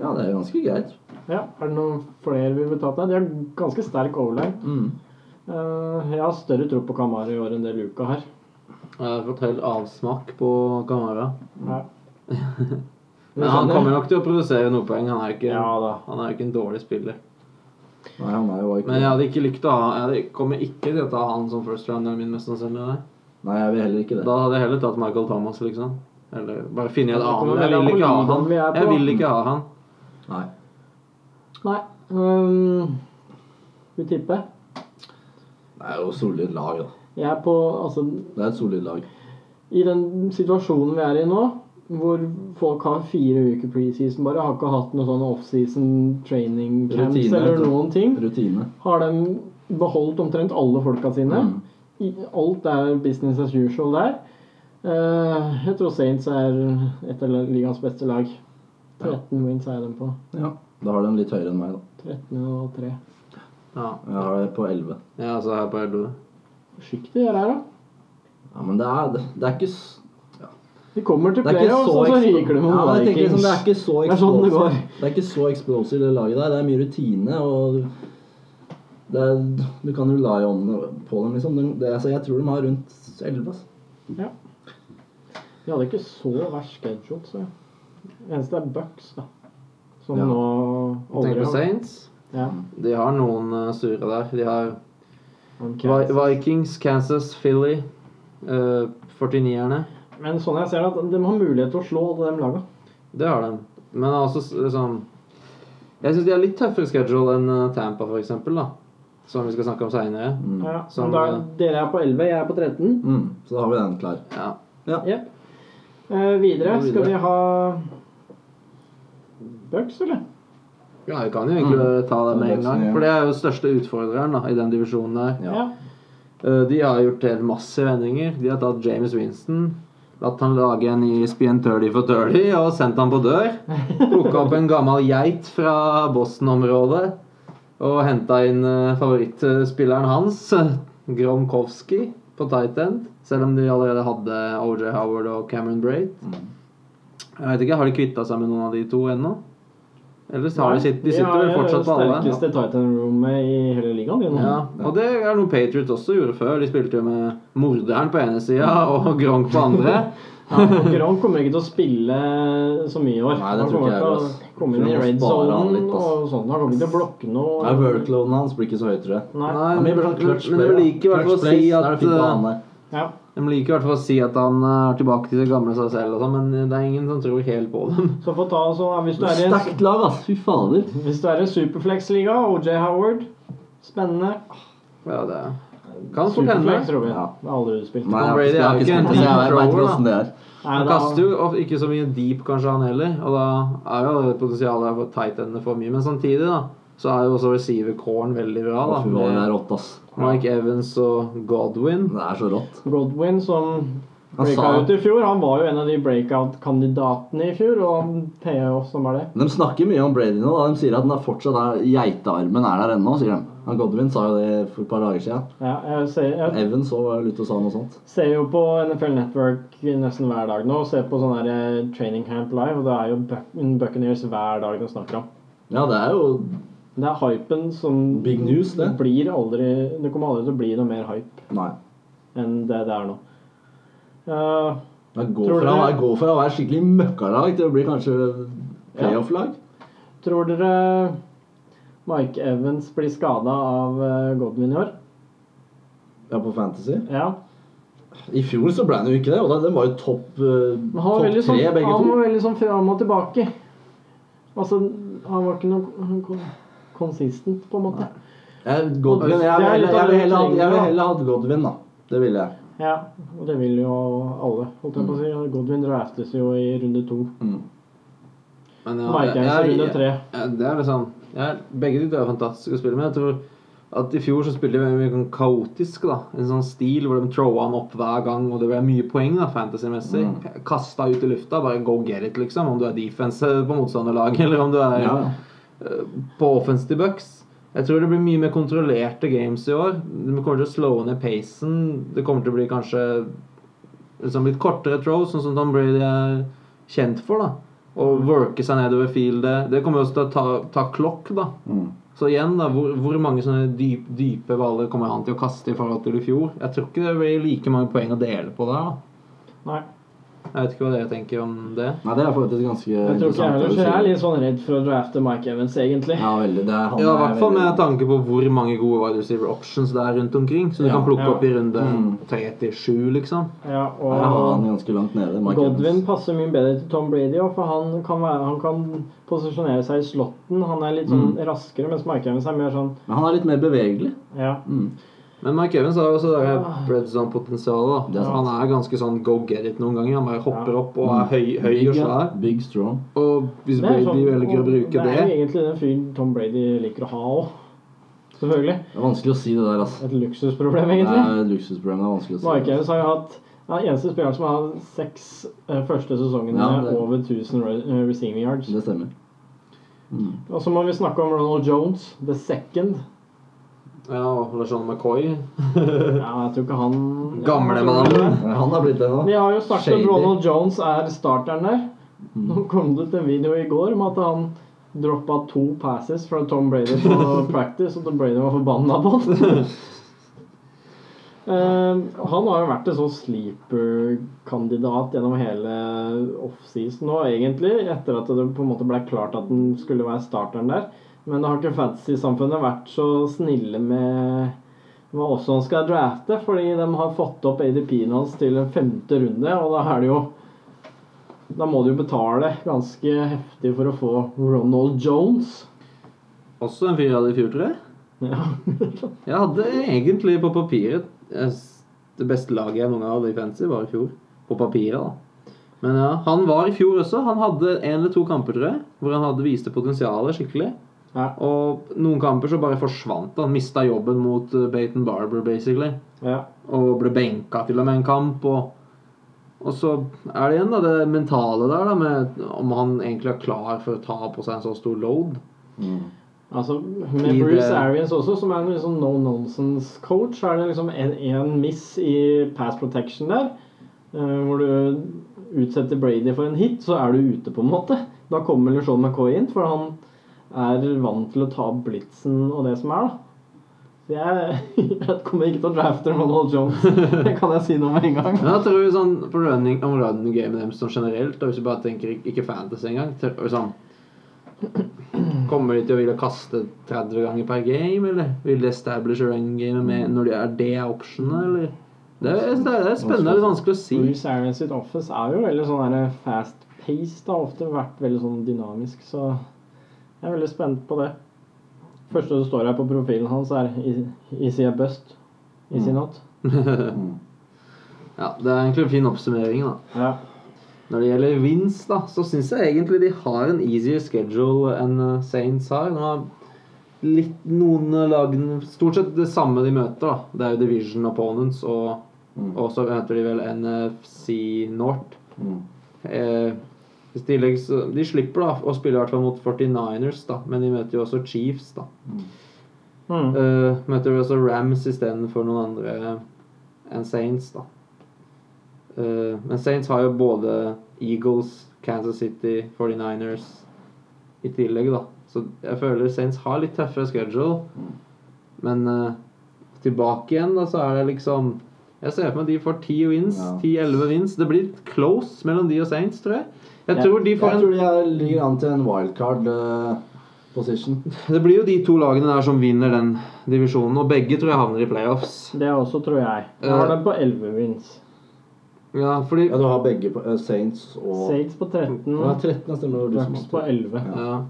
B: Ja, det er jo ganske greit.
A: Ja, Er det noen flere vi vil ta opp der? De har ganske sterk overline. Eh, jeg har større tro på Kamari i år enn det Luka har.
C: Jeg har fått helt avsmak på Kamara.
A: Ja.
C: Men han kommer nok til å produsere noen poeng. Han er jo ikke,
A: Ja da.
C: han er jo ikke en dårlig spiller.
B: Nei, han er jo ikke
C: Men jeg hadde ikke lykt å ha Jeg hadde- kommer ikke til å ta han som first rounderen min, mest sannsynlig. Nei.
B: Nei, jeg vil heller ikke det.
C: Da hadde jeg heller tatt Michael Thomas, liksom. Eller bare finne en
A: Det kommer
C: annen. Jeg
A: veldig an
C: vil
A: på
C: ikke ha
A: ligaen vi er på.
C: han. Jeg vil ikke ha han.
B: Nei.
A: Nei. Um, vi tipper.
B: Det er jo et solid lag, da.
A: Jeg er på Altså,
B: Det er et solid lag.
A: i den situasjonen vi er i nå, hvor folk har fire uker preseason bare, har ikke hatt noe sånn offseason training camps
B: Rutine, vet
A: eller
B: du.
A: noen ting,
B: Rutine.
A: har de beholdt omtrent alle folka sine.
B: Mm.
A: I- Alt er business as usual der. Eh, jeg tror Saints er et av ligaens beste lag. 13 wins er de på.
B: Ja. Da har de litt høyere enn meg, da.
A: 13 og 3.
C: Ja,
B: Jeg har det på 11.
C: ja så er jeg på LO.
A: Forsiktig gjør her, da.
B: Ja, men det er, det er ikke s-
A: De kommer til
B: Det er ikke
A: playoff,
B: så
A: sånn og så
B: eksplo-
A: ryker de mot
B: Ja, men jeg tenker
A: Vikings.
B: liksom, det er ikke så
A: Det er sånn det går.
B: explosive. Det er ikke så explosive det laget der. Det er mye rutine og det er, Du kan rely on på dem, liksom. Det, det, altså, jeg tror de har rundt 11. Altså.
A: De hadde ikke så verst schedule, så Eneste er Bucks, da. Som
B: Ja.
A: nå
C: Tenk
A: aldri
C: på
A: har-
C: Saints.
A: Ja.
C: De har noen eh, sure der. De har
A: men
C: Vi-
A: Kansas.
C: Vikings, Kansas, Philly. eh, 49erne.
A: Men sånn jeg ser det, at de har mulighet til å slå alle de laga.
C: Det har de. Men altså s- liksom Jeg syns de har litt tøffere schedule enn eh, Tampa, for eksempel, da. Som vi skal snakke om seinere.
B: Mm.
A: Ja,
C: Som,
A: men da,
C: eh,
A: dere er på 11, jeg er på 13.
B: Mm. Så da har vi den klar.
C: Ja.
A: Jep. Eh, videre
C: Mm. Gå
A: skal
C: videre.
A: vi ha Bucks, eller?
C: ja, vi kan jo egentlig eh, ta det med en gang.
B: Ja.
C: For det er jo største utfordreren da, i den divisjonen der.
B: Ja.
C: Eh, De har gjort helt massive endringer. De har tatt James Winston, latt han lage en ny spien 30 for 30 og sendt han på dør. Plukka opp en gammel geit fra Boston-området og henta inn eh, favorittspilleren hans, eh, Gronkowski, på tight end. Selv om de allerede hadde OJ Howard og Cameron Braid.
B: Mm.
C: Jeg vet ikke, Har de kvitta seg med noen av de to ennå? Ellers har de sitt,
A: Nei,
C: de sitter vel
A: har
C: fortsatt på alle?
A: Det sterkeste tight end-rommet i hele ligaen. de nå.
C: Ja, og det er noe Patriots også gjorde før. De spilte jo med morderen på ene sida og Gronk på andre.
A: Ja, Gronk kommer ikke til å spille så mye i år.
B: Nei, det
A: han
B: tror
A: kommer
B: ikke jeg,
A: til
B: ass.
A: å komme inn i
B: Tror jeg må
A: red
B: spare han
A: zone
B: litt, ass.
A: og sånn. Han kommer ikke til å blokke noe.
B: Nei, Workloaden hans blir ikke så høy, tror jeg.
A: Nei.
C: Nei,
B: Han
C: men,
B: blir bare sånn
C: men
B: clutch
C: de
B: player, da.
C: liker i hvert fall å
B: Clutch
C: si
B: plays, da er
C: at
B: det fint å ha han
C: eh,
B: der.
A: Ja.
C: De liker i hvert fall å si at han eh, er tilbake til det gamle seg selv, og sånn, men det er ingen som tror helt på dem.
A: Så få ta så, hvis, du er i en,
B: Sterkt lag, ass. Fy fader.
A: hvis du er i en Superflex-liga, OJ Howard Spennende.
C: Ja, det kan fort hende.
A: Superflex, Robin.
B: Ja.
A: Det har aldri du spilt.
B: Nei, jeg har
C: Brady
B: ikke- jeg har
C: er
B: ikke
C: ikke en
B: spilt det, så jeg vet
C: deep
B: ikke
C: thrower,
B: hvordan det er.
A: Nei,
C: Han
A: da-
C: kaster jo of- ikke så mye deep, kanskje, han heller, og da er jo det potensialet for tight endene for mye. Men samtidig, da, så er jo også receiver-coren veldig bra,
B: Å,
C: da.
B: Fy fader, det er
C: Med
B: rått, ass.
C: Mike Evans og Godwin.
B: Det er så rått.
A: Godwin som
B: Han
A: breaka
B: sa-
A: ut i fjor. Han var jo en av de breakout-kandidatene i fjor, og han paya oss som er det.
B: De snakker mye om Brady nå. da. De sier at den er fortsatt der, geitearmen er der ennå. sier de. Han Godwin sa jo det for et par dager siden.
A: Ja, jeg ser, jeg
B: Evan så var ute og sa noe sånt.
A: ser jo på NFL Network nesten hver dag nå. Ser på sånn der eh, Training Camp Live, og det er jo Buc- Buccaneers hver dag de snakker om.
B: Ja, det er jo
A: Det er hypen som
B: big news, det.
A: blir aldri Det kommer aldri til å bli noe mer hype
B: Nei.
A: enn det det er nå. Eh,
B: Det går
A: Tror
B: fra,
A: dere-
B: det går fra å være skikkelig møkkalag til å bli kanskje playoff-lag.
A: tror dere Mike Evans blir skada av eh, Godwin i år?
B: Ja, på Fantasy.
A: Ja.
B: I fjor så ble han jo ikke det, og da- den var jo topp eh,
A: Men han var
B: topp
A: veldig sånn,
B: tre, begge
A: han
B: to.
A: var veldig sånn fram og tilbake. Altså, han var ikke noe han kom- konsistent, på en måte.
B: Jeg, Godwin, jeg,
A: Det er
B: vil-
A: litt av det
B: jeg, vil heller hatt- jeg vil
A: trenger,
B: heller hatt Godwin, da. Det ville jeg.
A: Ja, Mm. og det vil jo alle. Holdt jeg på å si. Godwin draftes jo i runde to.
B: Mm.
C: Men ja,
A: Mike
C: jeg-
A: Evans i
C: jeg-
A: runde tre.
C: Ja, det er liksom jeg, Begge de to er fantastiske å spille med. Jeg tror at I fjor så spilte de veldig mye kaotisk. da En sånn stil hvor de throwa han opp hver gang, og det ble mye poeng da fantasy-messig. Kasta ut i lufta. Bare go get it, liksom. Om du er defense på motstanderlaget, eller om du er
B: Ja.
C: Eh, på offensive bucks. Jeg tror det blir mye mer kontrollerte games i år. De kommer til å slå ned pacen. Det kommer til å bli kanskje liksom litt kortere throws, sånn som Tom Brady er kjent for. da Og worke seg nedover fieldet. Det kommer jo også til å ta, ta klokk, da.
B: Mm.
C: Så igjen, da, hvor, hvor mange sånne dyp, dype baller kommer han til å kaste i forhold til i fjor? Jeg tror ikke det blir like mange poeng å dele på der. da
A: Nei.
C: Jeg vet ikke hva dere tenker om det.
B: Nei, det er faktisk ganske
A: Jeg tror ikke jeg heller, så jeg er
B: interessant.
A: litt sånn redd for å drafte Mike Evans, egentlig.
B: Ja, veldig. Det er, han
C: Ja, I
B: er
C: hvert fall
B: veldig-
C: med tanke på hvor mange gode wide receiver options det er rundt omkring. Så du
B: Ja,
C: kan plukke
A: ja.
C: opp i runde
B: Mm.
C: 37, liksom.
A: Ja,
B: Jeg har
A: og
B: han ganske langt nede. Mike
A: Godwin
B: Evans.
A: passer mye bedre til Tom Brady, også, for han kan, være, han kan posisjonere seg i slotten. Han er litt
C: Mm.
A: sånn raskere, mens Mike Evans er mer sånn
B: Men han er litt mer bevegelig.
A: ja.
B: Mm.
C: Men Mike Evans har jo også det der red
B: Det
C: zone-potensialet. da.
B: er sant.
C: Han er ganske sånn go get it noen ganger. Han bare hopper
A: Ja.
C: opp og er høy, høy og
B: Big,
C: svær.
B: big strong.
C: Og hvis
A: Det er
C: Brady
A: sånn-
C: velger å
A: og
C: bruke
A: Det er
C: det
A: jo egentlig den fyren Tom Brady liker å ha òg. Selvfølgelig.
B: Det er vanskelig å si det der, altså.
A: Et luksusproblem,
B: Det
A: egentlig.
B: er et luksusproblem. Det er vanskelig å si.
A: Mike Evans har jo hatt han er den eneste spilleren som har hatt seks eh, første sesongene
B: Ja, det-
A: over 1000 re- eh, receiving yards.
B: Det stemmer. Mm.
A: Og så må vi snakke om Ronald Jones, the second.
C: Ja, og LaShawn McCoy.
A: Ja, jeg tror ikke han
C: Gamlemannen.
B: Men Han har blitt det nå.
A: Vi har jo snakket om
B: Shady.
A: at Ronald Jones er starteren der. Nå kom det ut en video i går om at han droppa to passes fra Tom Brady på practice, og Tom Brady var forbanna på han. Eh, han har jo vært en sånn sleeper-kandidat gjennom hele offseason nå, egentlig. Etter at det på en måte ble klart at han skulle være starteren der. Men det har ikke fantasy-samfunnet vært så snille med hva også han skal drafte, fordi de har fått opp ADP-en hans til en femte runde, og da er det jo Da må du jo betale ganske heftig for å få Ronald Jones.
C: Også en fyr jeg hadde i fjor, tror jeg.
A: Ja.
C: Jeg hadde egentlig på papiret jeg s- Det beste laget jeg noen gang hadde i fantasy, var i fjor. På papiret, da. Men ja, han var i fjor også. Han hadde en eller to kamper, tror jeg, hvor han hadde viste potensialet skikkelig.
A: Ja.
C: Og noen kamper så bare forsvant han. Mista jobben mot eh, Baton Barber, basically.
A: ja.
C: Og ble benka til og med en kamp. Og, og så er det igjen da, det mentale der, da, med om han egentlig er klar for å ta på seg en så stor load.
B: Mm.
A: Altså,
C: I
A: med Bruce
C: det-
A: Arians også, som er en liksom no nonsense-coach, så er det liksom én miss i pass protection der. eh, hvor du utsetter Brady for en hit, så er du ute, på en måte. Da kommer LeSean McCoy inn, for han er vant til å ta blitzen og det som er, da. Så jeg, jeg kommer ikke til å drafte Ronald Jones. Det kan jeg si noe med en gang.
C: Men jeg tror sånn, på running, om running game dem sånn generelt, og hvis du bare tenker ikke- ikke fantasy engang tør- og sånn, Kommer de til å ville kaste 30 ganger per game, eller vil de establish running game med når de er det er optionene, eller? Det er, det er, det er spennende og vanskelig å si.
A: Bruce Arians sitt office er jo veldig sånn der fast paced. Har ofte vært veldig sånn dynamisk, så jeg er veldig spent på det. første som står her på profilen hans, er i- Easy a Bust. Easy Not.
C: Ja, Det er egentlig en fin oppsummering, da.
A: Ja.
C: Når det gjelder Vince, da, så syns jeg egentlig de har en easier schedule enn eh, Saints har. De har litt noen eh, lag Stort sett det samme de møter. da. Det er jo Division Opponents, og,
B: Mm.
C: og så møter de vel NFC North.
B: Mm.
C: Eh, i tillegg så, de slipper da å spille i hvert fall mot 49ers, da, men de møter jo også Chiefs. da.
A: Mm.
C: Eh, møter jo også Rams istedenfor noen andre enn Saints, da. Eh, men Saints har jo både Eagles, Kansas City, 49ers i tillegg, da. Så jeg føler Saints har litt tøffere schedule.
B: Mm.
C: Men eh, tilbake igjen, da, så er det liksom Jeg ser for meg de får 10 wins,
B: Ja.
C: 10-11 wins. Det blir close mellom de og Saints, tror jeg. Jeg
A: Ja.
C: tror de
B: Jeg
C: får en
B: tror jeg ligger an til en wildcard eh, position.
C: Det blir jo de to lagene der som vinner den divisjonen, og begge tror jeg havner i playoffs.
A: Det også, tror jeg. Jeg har den på 11 wins.
C: Ja, fordi
B: Ja, du har begge på eh, Saints og
A: Saints på 13,
B: Ja, 13 er stemmer. det var du
A: Rams
B: som
A: på
B: vant.
A: 11.
C: Ja.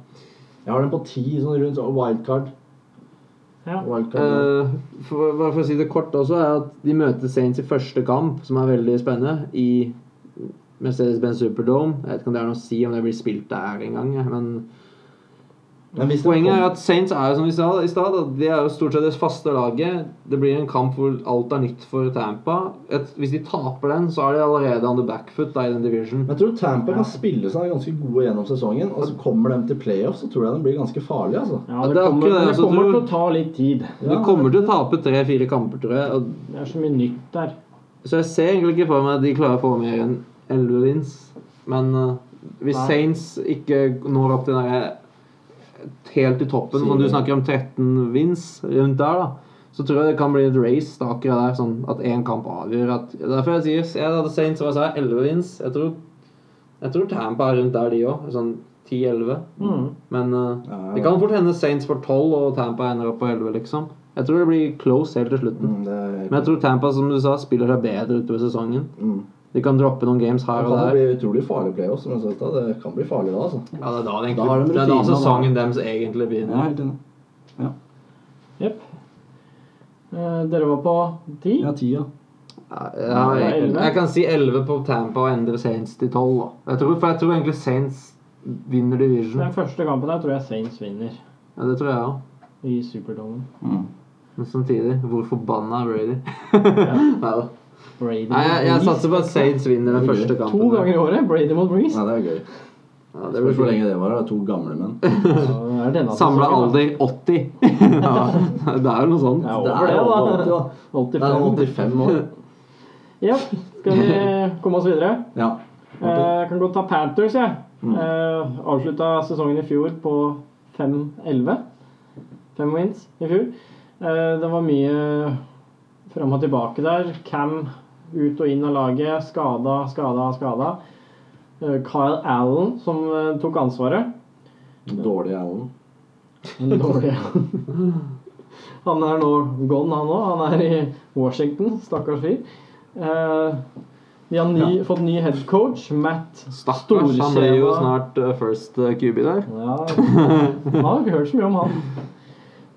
B: Jeg har den på 10 sånn rundt. Og wildcard.
A: Ja.
B: wildcard.
C: Eh, for, bare for å si det kort også, er at de møter Saints i første kamp, som er veldig spennende, i Mercedes-Benz Superdome. Jeg vet ikke om det er noe å si om det blir spilt der engang, jeg, men
B: Men hvis det
C: poenget er
B: kom-
C: at Saints er jo som vi sa i stad, at det er jo stort sett det faste laget. Det blir en kamp hvor alt er nytt for Tampa. Et, hvis de taper den, så er de allerede on the backfoot da, i den division.
B: Men jeg tror Tampa kan spille seg ganske gode gjennom sesongen. Og så kommer de til playoff, så tror jeg de blir ganske farlige. altså.
A: Ja,
C: Ja,
A: det
C: det er
A: kommer,
C: akkurat det,
A: det
C: altså,
A: kommer
C: tror-
A: til å ta litt tid.
C: De kommer til å tape tre-fire kamper, tror jeg. Og
A: Det er så mye nytt der.
C: Så jeg ser egentlig ikke for meg at de klarer å få mer enn 11 wins. Men eh, hvis
A: Nei.
C: Saints ikke når opp til eh, den derre helt i toppen, som du snakker om 13 wins rundt der, da, Så tror jeg det kan bli et race da, akkurat der, sånn at én kamp avgjør. At, derfor jeg sier jeg hadde Saints hva sa jeg, 11 wins. Jeg tror, jeg tror Tampa er rundt der, de òg. Sånn 10-11.
A: Mm.
C: Men eh,
B: Ja,
C: det kan fort hende Saints får 12 og Tampa ender opp på 11, liksom. Jeg tror det blir close helt til slutten.
B: Mm, det er,
C: Men jeg tror Tampa som du sa, spiller seg bedre utover sesongen.
B: mm.
C: De kan droppe noen games
B: Det
C: her og
B: kan
C: der.
B: bli utrolig farlig playoff, som jeg sa i stad. Det kan bli farlig da, altså.
C: Ja, Det er da, det
B: Da har de
C: egentlig, det er da
B: rutinene, da.
C: sesongen deres egentlig begynner.
B: helt enig.
A: Jepp. Eh, dere var på ti?
B: Ja, ti, ja.
C: Ja, jeg, jeg kan si 11 på Tampa og endre Saints til 12. Da. Jeg tror, for jeg tror egentlig Saints vinner division.
A: Den første kampen der tror jeg Saints vinner
C: Ja, det tror jeg òg.
A: i Superdome.
B: Mm.
C: Men samtidig, hvor forbanna er Brady? Neida.
A: Brady
C: Nei, jeg, jeg satser på at Saints vinner den første kampen.
A: To ganger i året, Brady mot Breeze.
B: Nei, det er gøy.
C: Ja, det
B: Spørs
C: blir
B: hvor
C: fint.
B: lenge det var. da. To gamle menn.
A: Ja, er denne
C: Samla
A: sesongen, da.
C: alder 80. ja, det er jo noe sånt.
A: Ja,
B: Det
A: over
B: er
A: det,
B: jo over
A: da.
B: 80, da. Det er
A: 85.
B: 85 år.
A: Ja, skal vi komme oss videre?
B: Ja.
A: Eh, Jeg kan godt ta Panthers, jeg. Eh, Avslutta sesongen i fjor på 5-11. Fem wins i fjor. Eh, Det var mye fram og tilbake der. Cam ut og inn av laget. Skada, skada, skada. Eh, Kyle Allen som eh, tok ansvaret.
B: Dårlig Allen.
A: Den dårlige. Han er nå gone, han òg. Han er i Washington, stakkars fyr. Eh, De har ny, fått ny headcoach, Matt
C: Stakkars, han blir jo
A: Storskjeva.
C: snart eh, first eh, QB der.
A: Ja, man har ikke hørt så mye om han.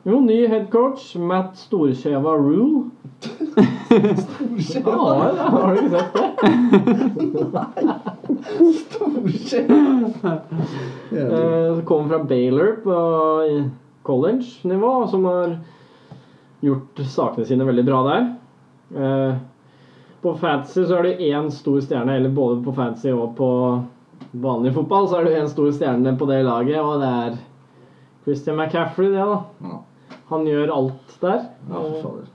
A: Jo, ny headcoach, Matt Storskjeva Rule. Ja, ja, har du ikke sett det? Eh, Kommer fra Baylor på i college-nivå, som har gjort sakene sine veldig bra der. Eh, På fantasy så er det én stor stjerne, eller både på fantasy og på vanlig fotball, så er det én stor stjerne på det laget, og det er Christian McCaffrey, det, da.
B: Ja,
A: Han gjør alt der.
B: Ja, fy fader.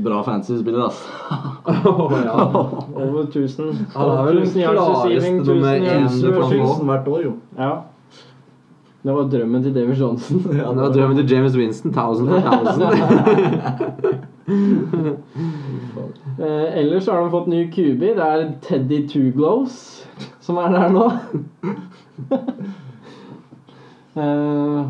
B: Bra fancy spiller, ass.
A: Over 1000.
C: Han er vel den
A: 1000 yards
C: klareste
A: receiving,
C: nummer
A: 1000
C: én
A: yards
C: du kan få.
A: rushing.
B: Tusen hvert år, jo.
A: Ja. Det var drømmen til David Johnson.
B: Ja,
C: Det var drømmen til James Winston. Thousand for thousand.
A: Eh, ellers har de fått ny QB. Det er Teddy Two Gloves som er der nå. eh,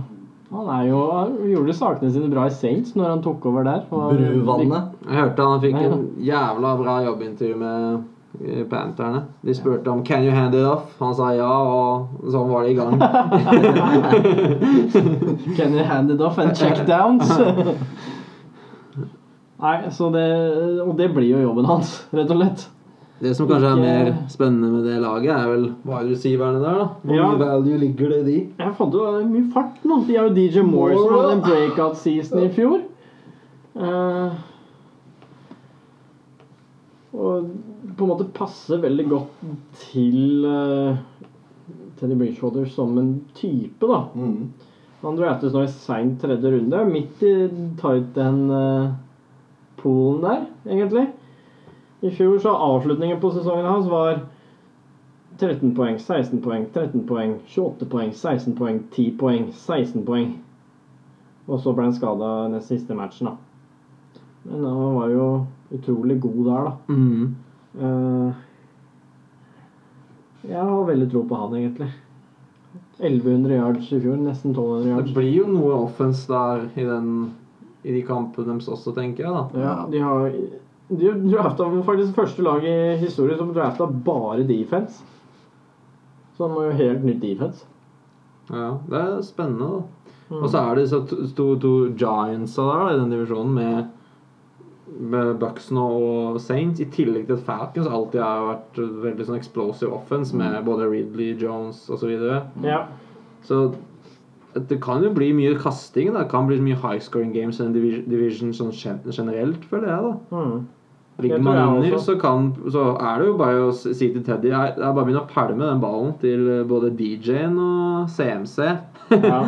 A: han er jo, han gjorde sakene sine bra i Saints når han tok over der. og-
B: Bruvannet.
C: Jeg hørte han fikk en jævla bra jobbintervju med eh, Pantherne. De spurte om 'Can you hand it off?' Han sa ja, og sånn var det i gang.
A: Can you hand it off and check downs? Nei, så det, og det blir jo jobben hans, rett og slett.
C: Det som kanskje er
A: Ikke-
C: mer spennende med det laget, er vel wide receiverne der, da. Hvor
A: Ja.
C: mye value ligger det i de?
A: Jeg fant jo det er mye fart nå. De har jo DJ Morrison
C: Moore.
A: og den breakout season i fjor. Eh, og på en måte passer veldig godt til eh, Teddy Bridgewater som en type, da.
B: Mm.
A: Han draftes nå i sein tredje runde, midt i tight end-poolen der, egentlig. I fjor så avslutningen på sesongen hans var 13 poeng, 16 poeng, 13 poeng, 28 poeng, 16 poeng, 10 poeng, 16 poeng. Og så ble han skada den siste matchen, da. Men han var jo utrolig god der, da.
C: Mm.
A: Eh, jeg har veldig tro på han, egentlig. 1100 yards i fjor, nesten 1200 yards.
C: Det blir jo noe offense der i, den, i de kampene deres også, tenker jeg, da.
A: Ja, de har De drafta faktisk første lag i historien som drafta bare defense. Så han må jo helt nytt defense.
C: Ja, det er spennende, da. Og
A: Mm.
C: så er det disse to, to, to giantsa der da, i den divisjonen med, med Bucks nå og Saints, i tillegg til at Falcons alltid har vært veldig sånn explosive offense med
A: Mm.
C: både Ridley, Jones osv.
A: Ja.
C: Så det kan jo bli mye kasting. Da. Det kan bli mye high scoring games i en divi- division sånn gen- generelt, føler jeg. da
A: Mm.
C: Ligger
A: Det tror jeg
C: man under,
A: også.
C: så, kan, så er det jo bare å si til Teddy Det er det er bare å begynne å pælme den ballen til både DJ-en og CMC.
A: ja.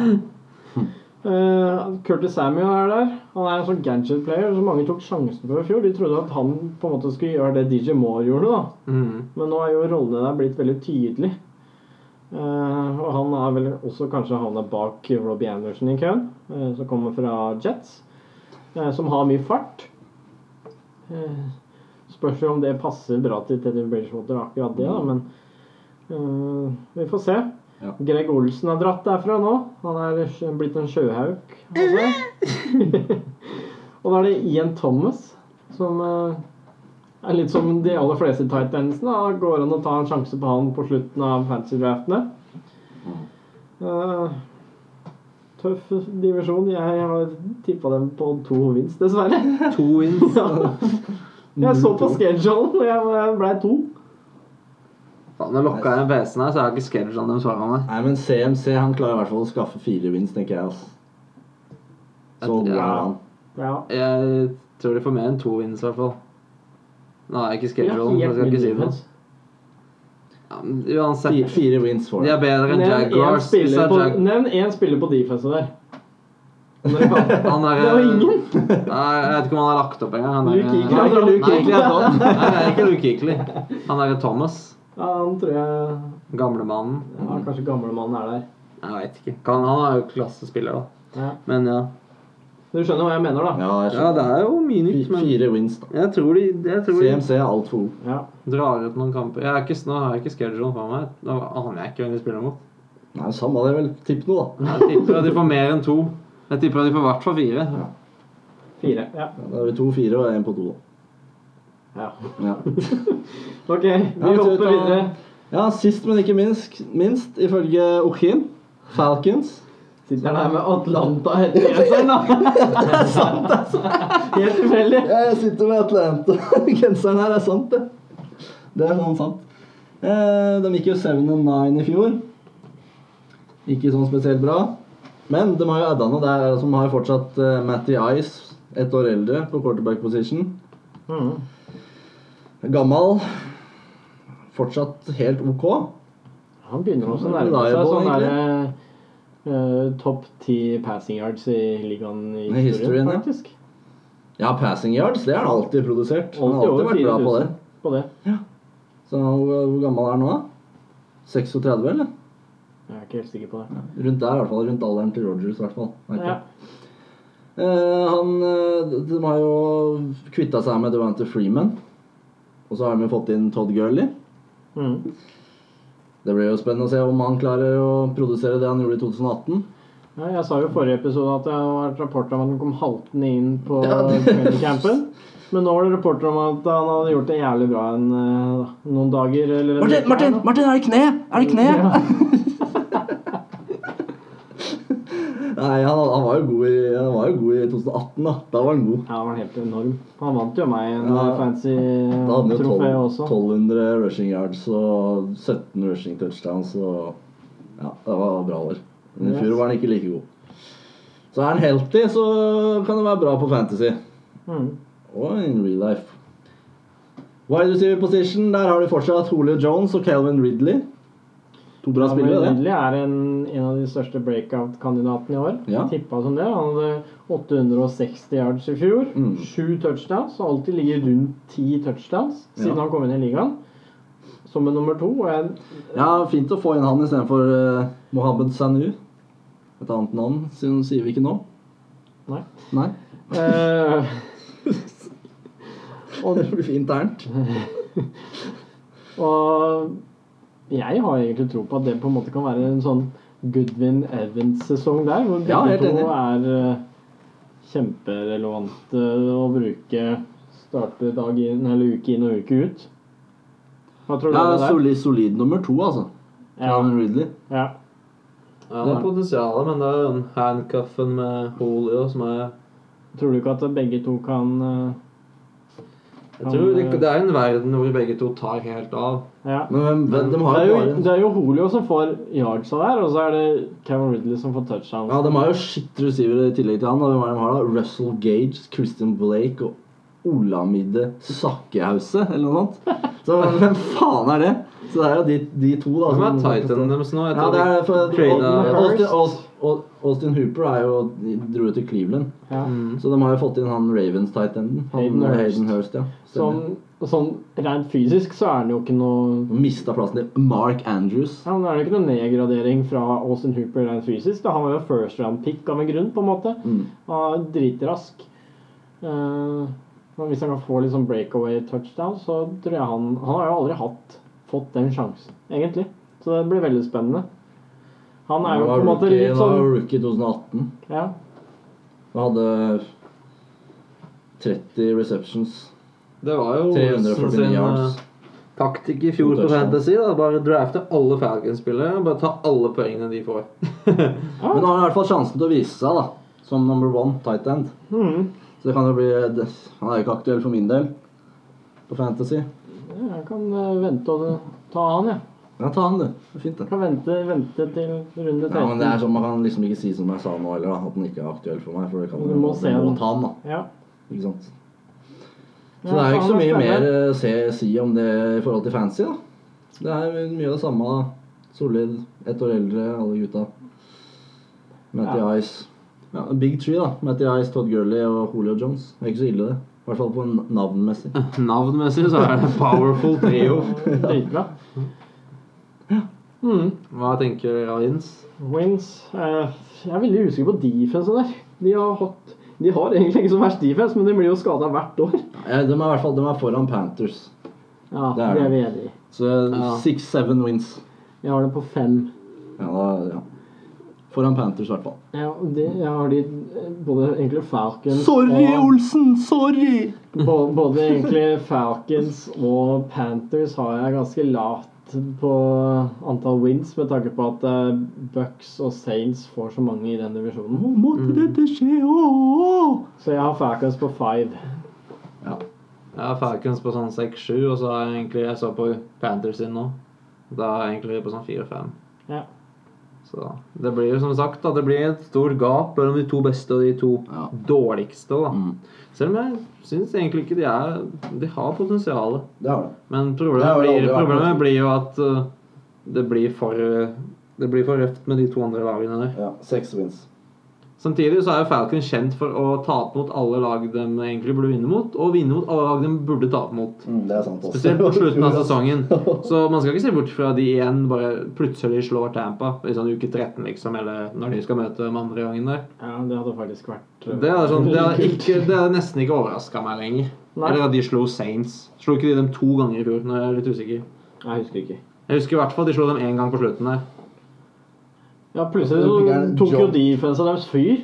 A: Eh, Curtis Samuel er der. Han er en sånn gadget player som mange tok sjansen på i fjor. De trodde at han på en måte skulle gjøre det DJ Moore gjorde, da.
C: Mm.
A: Men nå er jo rollene der blitt veldig tydelig. Eh, og han er vel også kanskje havna bak Robbie Anderson i køen, eh, som kommer fra Jets. eh, som har mye fart. Eh, Spørs jo om det passer bra til Teddy Bridgewater, akkurat det, da, men eh, vi får se.
B: Ja.
A: Greg Olsen har dratt derfra nå. Han er sj- blitt en sjøhauk. altså. Og da er det Ian Thomas, som eh, er litt som de aller fleste tight endsene. Da går an å ta en sjanse på han på slutten av fantasy-draftene. Eh, tøff divisjon. Jeg har tippa dem på to wins, dessverre.
C: To wins.
A: Jeg så på schedulen, og jeg ble to.
C: Faen, jeg lokka igjen PC-en her, så jeg har ikke schedulen deres foran meg.
B: Nei, men CMC han klarer i hvert fall å skaffe fire wins, tenker jeg. ass. Så god er
C: Ja.
B: han.
A: Ja.
C: Jeg tror de får mer enn to wins, i hvert fall. Nå har jeg ikke schedulen, så jeg skal ikke si noe. Ja, men
B: Fire,
C: uansett.
B: fire wins for
C: De er
B: ham.
C: bedre enn
A: Nevn én
C: Jaguars. Hvis det
A: spiller,
C: er Jag-
A: på- nevn én spiller på defense der. Om dere kan. Det
C: Han er
A: var ingen!
C: Nei, Jeg vet ikke om han har lagt opp engang. Han er-
A: Luke Kuechly.
C: Nei,
A: Han er Luke
C: Nei,
A: Kuechly.
C: Nei, det er ikke Luke Kuechly. Han er Thomas.
A: Ja, han tror jeg
C: Gamlemannen.
A: ja, Kanskje gamlemannen er der.
C: Jeg veit ikke. Kan, han er jo klassespiller, da.
A: Ja.
C: Men ja.
A: Du skjønner hva jeg mener, da?
B: Ja, jeg
C: Ja,
B: skjønner.
C: det er jo mye nytt,
B: Fi-
C: men
B: Fire wins, da.
C: jeg tror de, jeg tror de
B: CMC er altfor god.
A: Ja.
C: drar ut noen kamper. Jeg er ikke, nå har jeg ikke schedulen for meg. Nå aner jeg ikke hvem de spiller mot.
B: Nei, samme det, vel. Tipp noe, da.
C: Jeg tipper at de får mer enn to. Jeg tipper at de får i hvert fall fire.
A: Fire. Ja.
B: Ja, Da er vi to fire og én på to, da.
A: ja.
B: Ja.
A: Ok,
B: Ja,
A: vi
B: vi tar-
A: hopper videre.
B: ja, sist, men ikke minst, minst ifølge Ochin, Falcons.
A: Sitter han her med Atlanta etter genseren, da?
B: altså.
A: Helt tilfeldig.
B: Ja, jeg sitter med Atlanta-genseren her, det er sant, det. Det er sånn sant. Eh, de gikk jo 7-9 i fjor. Ikke sånn spesielt bra. Men de har jo adda noe der som har fortsatt eh, Matty Ice, ett år eldre, på quarterback position.
A: Mm.
B: Gammal. Fortsatt helt ok.
A: Han begynner også å
B: Det er
A: nærme seg
B: reliable,
A: sånn derre topp ti passing yards i ligaen i
B: I historien,
A: historien,
B: ja.
A: faktisk.
B: Ja, passing yards, det har han alltid produsert. Han har
A: Alltid
B: alltid
A: over
B: vært bra på det.
A: 4000 på det.
B: Så hvor, hvor gammel er han nå, da? 36, eller?
A: Jeg er ikke helt sikker på det.
B: Rundt der, i hvert fall. Rundt alderen til Rogers, i hvert fall. Vet ikke.
A: Ja.
B: Eh, han, eh, de- de har jo kvitta seg med Devante Freeman. Og så har de jo fått inn Todd Gurley.
A: Mm.
B: Det blir jo spennende å se om han klarer å produsere det han gjorde i 2018.
A: Ja, jeg sa jo i forrige episode at det har vært rapporter om at han kom haltende inn på
B: Ja, det-
A: trainingscampen. Men nå var det rapporter om at han hadde gjort det jævlig bra en, eh, noen dager. Eller en uke her nå.
B: Martin, er det kne? Er det
A: Ja.
B: Nei, han, han, var jo god i, han var jo god i 2018, da. Da var han god.
A: Ja, han var helt enorm. Han vant jo meg en
B: Ja.
A: eh, fancy eh,
B: Da hadde han jo 12,
A: trofé også.
B: 1200 rushing yards og 17 rushing touchdowns og Ja, det var bra år. Men i
A: Yes.
B: fjor var han ikke like god. Så er han healthy, så kan det være bra på fantasy.
A: Mm.
B: Og in real life. Wide receiver position, der har du fortsatt Julio Jones og Calvin Ridley. To
A: Mm.
B: bra spillere, det.
A: Ridley er en, en av de største breakout-kandidatene i år.
B: Ja.
A: Tippa som det. Han hadde 860 yards i fjor.
B: Mm.
A: Sju touchdowns. Og alltid ligger rundt ti touchdowns siden
B: Ja.
A: han kom inn i ligaen. Som en nummer to. Og en,
B: Ja, fint å få inn han istedenfor uh, Mohammed Sanu. Et annet navn, siden sier vi ikke nå.
A: Nei.
B: Nei.
A: eh, og,
B: Det blir fint internt.
A: og jeg har egentlig tro på at det på en måte kan være en sånn Goodwin Evans-sesong der. Hvor
B: Ja,
A: begge
B: helt
A: to er eh, kjemperelevante å bruke starte dag inn eller uke inn og uke ut. Hva tror du
B: Ja,
A: om det der?
B: solid, solid nummer to, altså.
A: Ja,
B: Calvin Ridley.
A: ja.
C: Ja, det er potensialet, men det er den handcuffen med Julio som er
A: Tror du ikke at begge to kan eh,
C: Jeg tror
B: eh,
C: det, det er en verden hvor begge to tar helt av.
A: Ja.
B: Men hvem, hvem, de
A: Det
B: har
A: er,
B: jo
A: jo,
B: bare
A: det er jo Holio som får yardsa der, og så er det Cameron Ridley som får touchdown.
B: Ja, de har jo shit receivere i tillegg til han. Og hvem er det de har da? Russell Gage, Christian Blake og Olamide Sakkehause, eller noe sånt. Så hvem faen er det? Så det er jo de, de to, da.
C: Hvem er
B: som-
C: Titan deres nå? Jeg
B: Altså, Ja,
C: tror
B: det er for
C: Trade-
B: Austin, Austin, Austin Hooper er jo, dro jo til Cleveland.
A: Ja.
C: Mm.
B: Så de har jo fått inn han Ravens-tightenden.
A: Hayden Hurst.
B: Hayden Hurst, ja. Stemmer.
A: Sånn, sånn rent fysisk så er han jo ikke noe
B: Og Mista plassen til Mark Andrews.
A: ja, men Er det ikke noe nedgradering fra Austin Hooper rent fysisk? Da Han var jo first round pick av en grunn, på en måte.
B: Mm.
A: Han er dritrask. Eh, men hvis han kan få litt sånn breakaway touchdown, så tror jeg han Han har jo aldri hatt, fått den sjansen, egentlig. Så det blir veldig spennende. Han er jo på en måte
B: rookie,
A: litt
B: han var
A: sånn
B: rookie i 2018.
A: ja,
B: Han hadde 30 receptions.
C: Det var jo Wilson
B: 349
C: sin
B: yards.
C: eh, taktikk i fjor på
B: Touchdown.
C: Fantasy. Da. Bare drafte alle Falcons-spillere. Bare ta alle poengene de får.
B: Men han har i hvert fall sjansen til å vise seg da, som number one tight end.
A: mhm,
B: Så det kan jo bli det- Han er jo ikke aktuell for min del på Fantasy.
A: Jeg kan eh, vente og ta han, jeg.
B: Ja, ta han, du. Det er fint, det.
A: Kan vente, vente til runde 13.
B: Ja, men det er sånn, Man kan liksom ikke si som jeg sa nå heller, da, at den ikke er aktuell for meg. For det kan
A: Du må se den.
B: ta den, da.
A: Ja.
B: Ikke sant? Så
A: Ja,
B: det er jo ikke så
A: han
B: mye mer
A: spennende.
B: eh, se, si om det i forhold til fancy, da. Det er jo mye av det samme. da. Solid, ett år eldre, alle gutta. Matty
A: Ja.
B: Ice. Ja, Big Tree, da. Matty Ice, Todd Gurley og Julio Jones. Det er ikke så ille, det. I hvert fall på n- navnmessig.
C: Navnmessig så er det powerful trio.
A: Dritbra. Mhm.
C: Hva tenker dere, Jens?
A: Wings eh, Jeg er veldig usikker på defense der. De har, hatt, de har egentlig ikke så verst defense, men de blir jo skada hvert år.
B: Ja, de er i hvert fall de er foran Panthers.
A: Ja,
B: Det
A: det
B: er
A: er,
B: det.
A: vi enig i.
B: Så
C: Ja.
B: six-seven wins.
A: Jeg har det på fem.
B: Ja, da, ja. Foran Panthers, i hvert fall.
A: Jeg, de, jeg har de eh, både egentlig Falcons og,
B: Olsen! Sorry!
A: både, både egentlig Falcons og Panthers har jeg ganske lavt på antall wins, med tanke på at eh, Bucks og Saints får så mange i den divisjonen.
B: måtte dette skje?
A: Så jeg har Falcons på five.
B: Ja.
C: Jeg har Falcons på sånn 6-7, og så har jeg egentlig jeg så på Panthers sin nå. Da er jeg egentlig på sånn 4-5.
A: Ja.
C: Så det blir jo som sagt da, det blir et stort gap mellom de to beste og de to
B: Ja.
C: dårligste. da.
B: Mm.
C: Selv om jeg syns egentlig ikke de er De har potensial.
B: Det har det.
C: Men
B: Det
C: problemet,
B: har vel aldri
C: blir,
B: vært noe-
C: problemet blir jo at uh, det blir for uh, Det blir for røft med de to andre lagene der.
B: Ja, Seks wins.
C: Samtidig så er jo Falcon kjent for å tape mot alle lag de egentlig burde vinne mot, og vinne mot alle lag de burde tape mot.
B: Mm, det er sant. også.
C: Spesielt på slutten av sesongen. Så man skal ikke se bort fra de igjen bare plutselig slår Tampa i sånn uke 13, liksom, eller når de skal møte dem andre gangen der.
A: ja, det hadde faktisk vært eh,
C: Det er, sånn, det er,
A: kult.
C: ikke, det er nesten ikke overraska meg lenger.
A: Nei.
C: Eller at de slo Saints. Slo ikke de dem to ganger i fjor? Nå er jeg litt usikker.
A: Jeg husker ikke.
C: Jeg husker i hvert fall de slo dem én gang på slutten der.
A: Ja, plutselig
B: Det
A: så
B: er en
A: tok jo
B: job.
A: defensa deres fyr.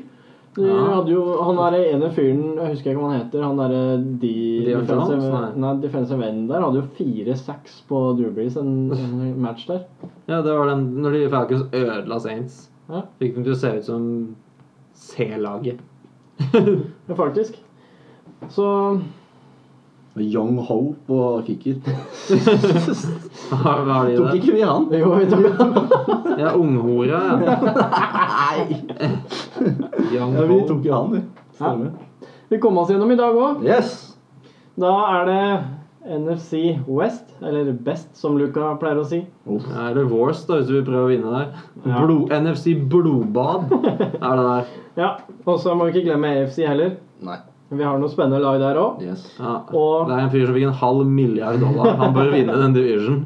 A: De
C: Ja.
A: hadde jo, han der ene fyren, jeg husker ikke hva han heter, han derre de,
C: Dion Jones?
A: defensive,
C: Nei.
A: nei, defensive end der, hadde jo fire-seks på Dubries en, en match der.
C: Ja, det var den når de Falcons ødela Saints.
A: Ja.
C: Fikk dem til å se ut som C-laget.
A: Ja, faktisk. Så
B: Young Ho på kicker.
C: Hva har de
B: Tok
C: der?
B: ikke vi han?
A: Jo, vi tok,
C: Ja, unghora. Ja. Young
B: Ja, vi
C: Ho.
B: tok jo han, vi. Stemmer.
A: vi kom oss gjennom i dag òg.
B: Yes!
A: Da er det NFC West, eller Best, som Luca pleier å si.
C: Ja, Er det Wars, da, hvis du vil prøve å vinne der?
A: Ja.
C: Blod, NFC Blodbad er det der.
A: Ja, Og så må vi ikke glemme AFC heller.
B: Nei.
A: Vi har noen spennende lag der òg.
B: Yes.
C: Ja.
A: Og-
C: Det er en fyr som fikk en halv milliard dollar. Han bør vinne den division.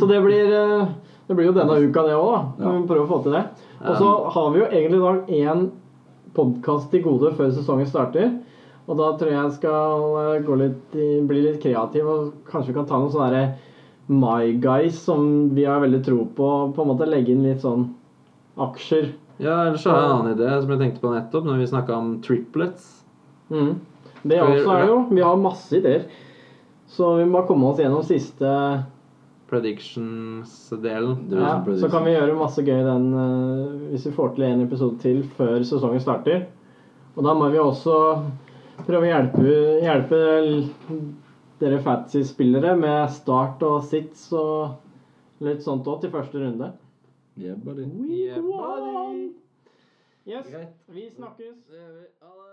A: Så det blir, eh, det blir jo denne uka, det òg.
B: Ja.
A: Ja. Vi prøver å få til det. Og så har vi jo egentlig i dag én podkast til gode før sesongen starter. Og da tror jeg jeg skal eh, gå litt, i- bli litt kreativ og kanskje vi kan ta noen sånne derre My Guys som vi har veldig tro på. og På en måte legge inn litt sånn aksjer.
C: Ja, ellers så har jeg en annen idé som jeg tenkte på nettopp, når vi snakka om triplets.
A: Mm. Det
C: Skal vi-
A: også er jo Vi har masse ideer. Så vi må bare komme oss gjennom siste
C: Predictions-delen.
B: Det er
A: ja, Så
B: som predictions.
A: kan vi gjøre masse gøy den eh, hvis vi får til en episode til før sesongen starter. Og da må vi også prøve å hjelpe, hjelpe dere Fatsy-spillere med start og sits og litt sånt òg til første runde.
B: Yeah, buddy.
A: Week
C: Yeah, buddy.
A: one! Yes,
C: Greit.
A: vi snakkes.
C: Ja.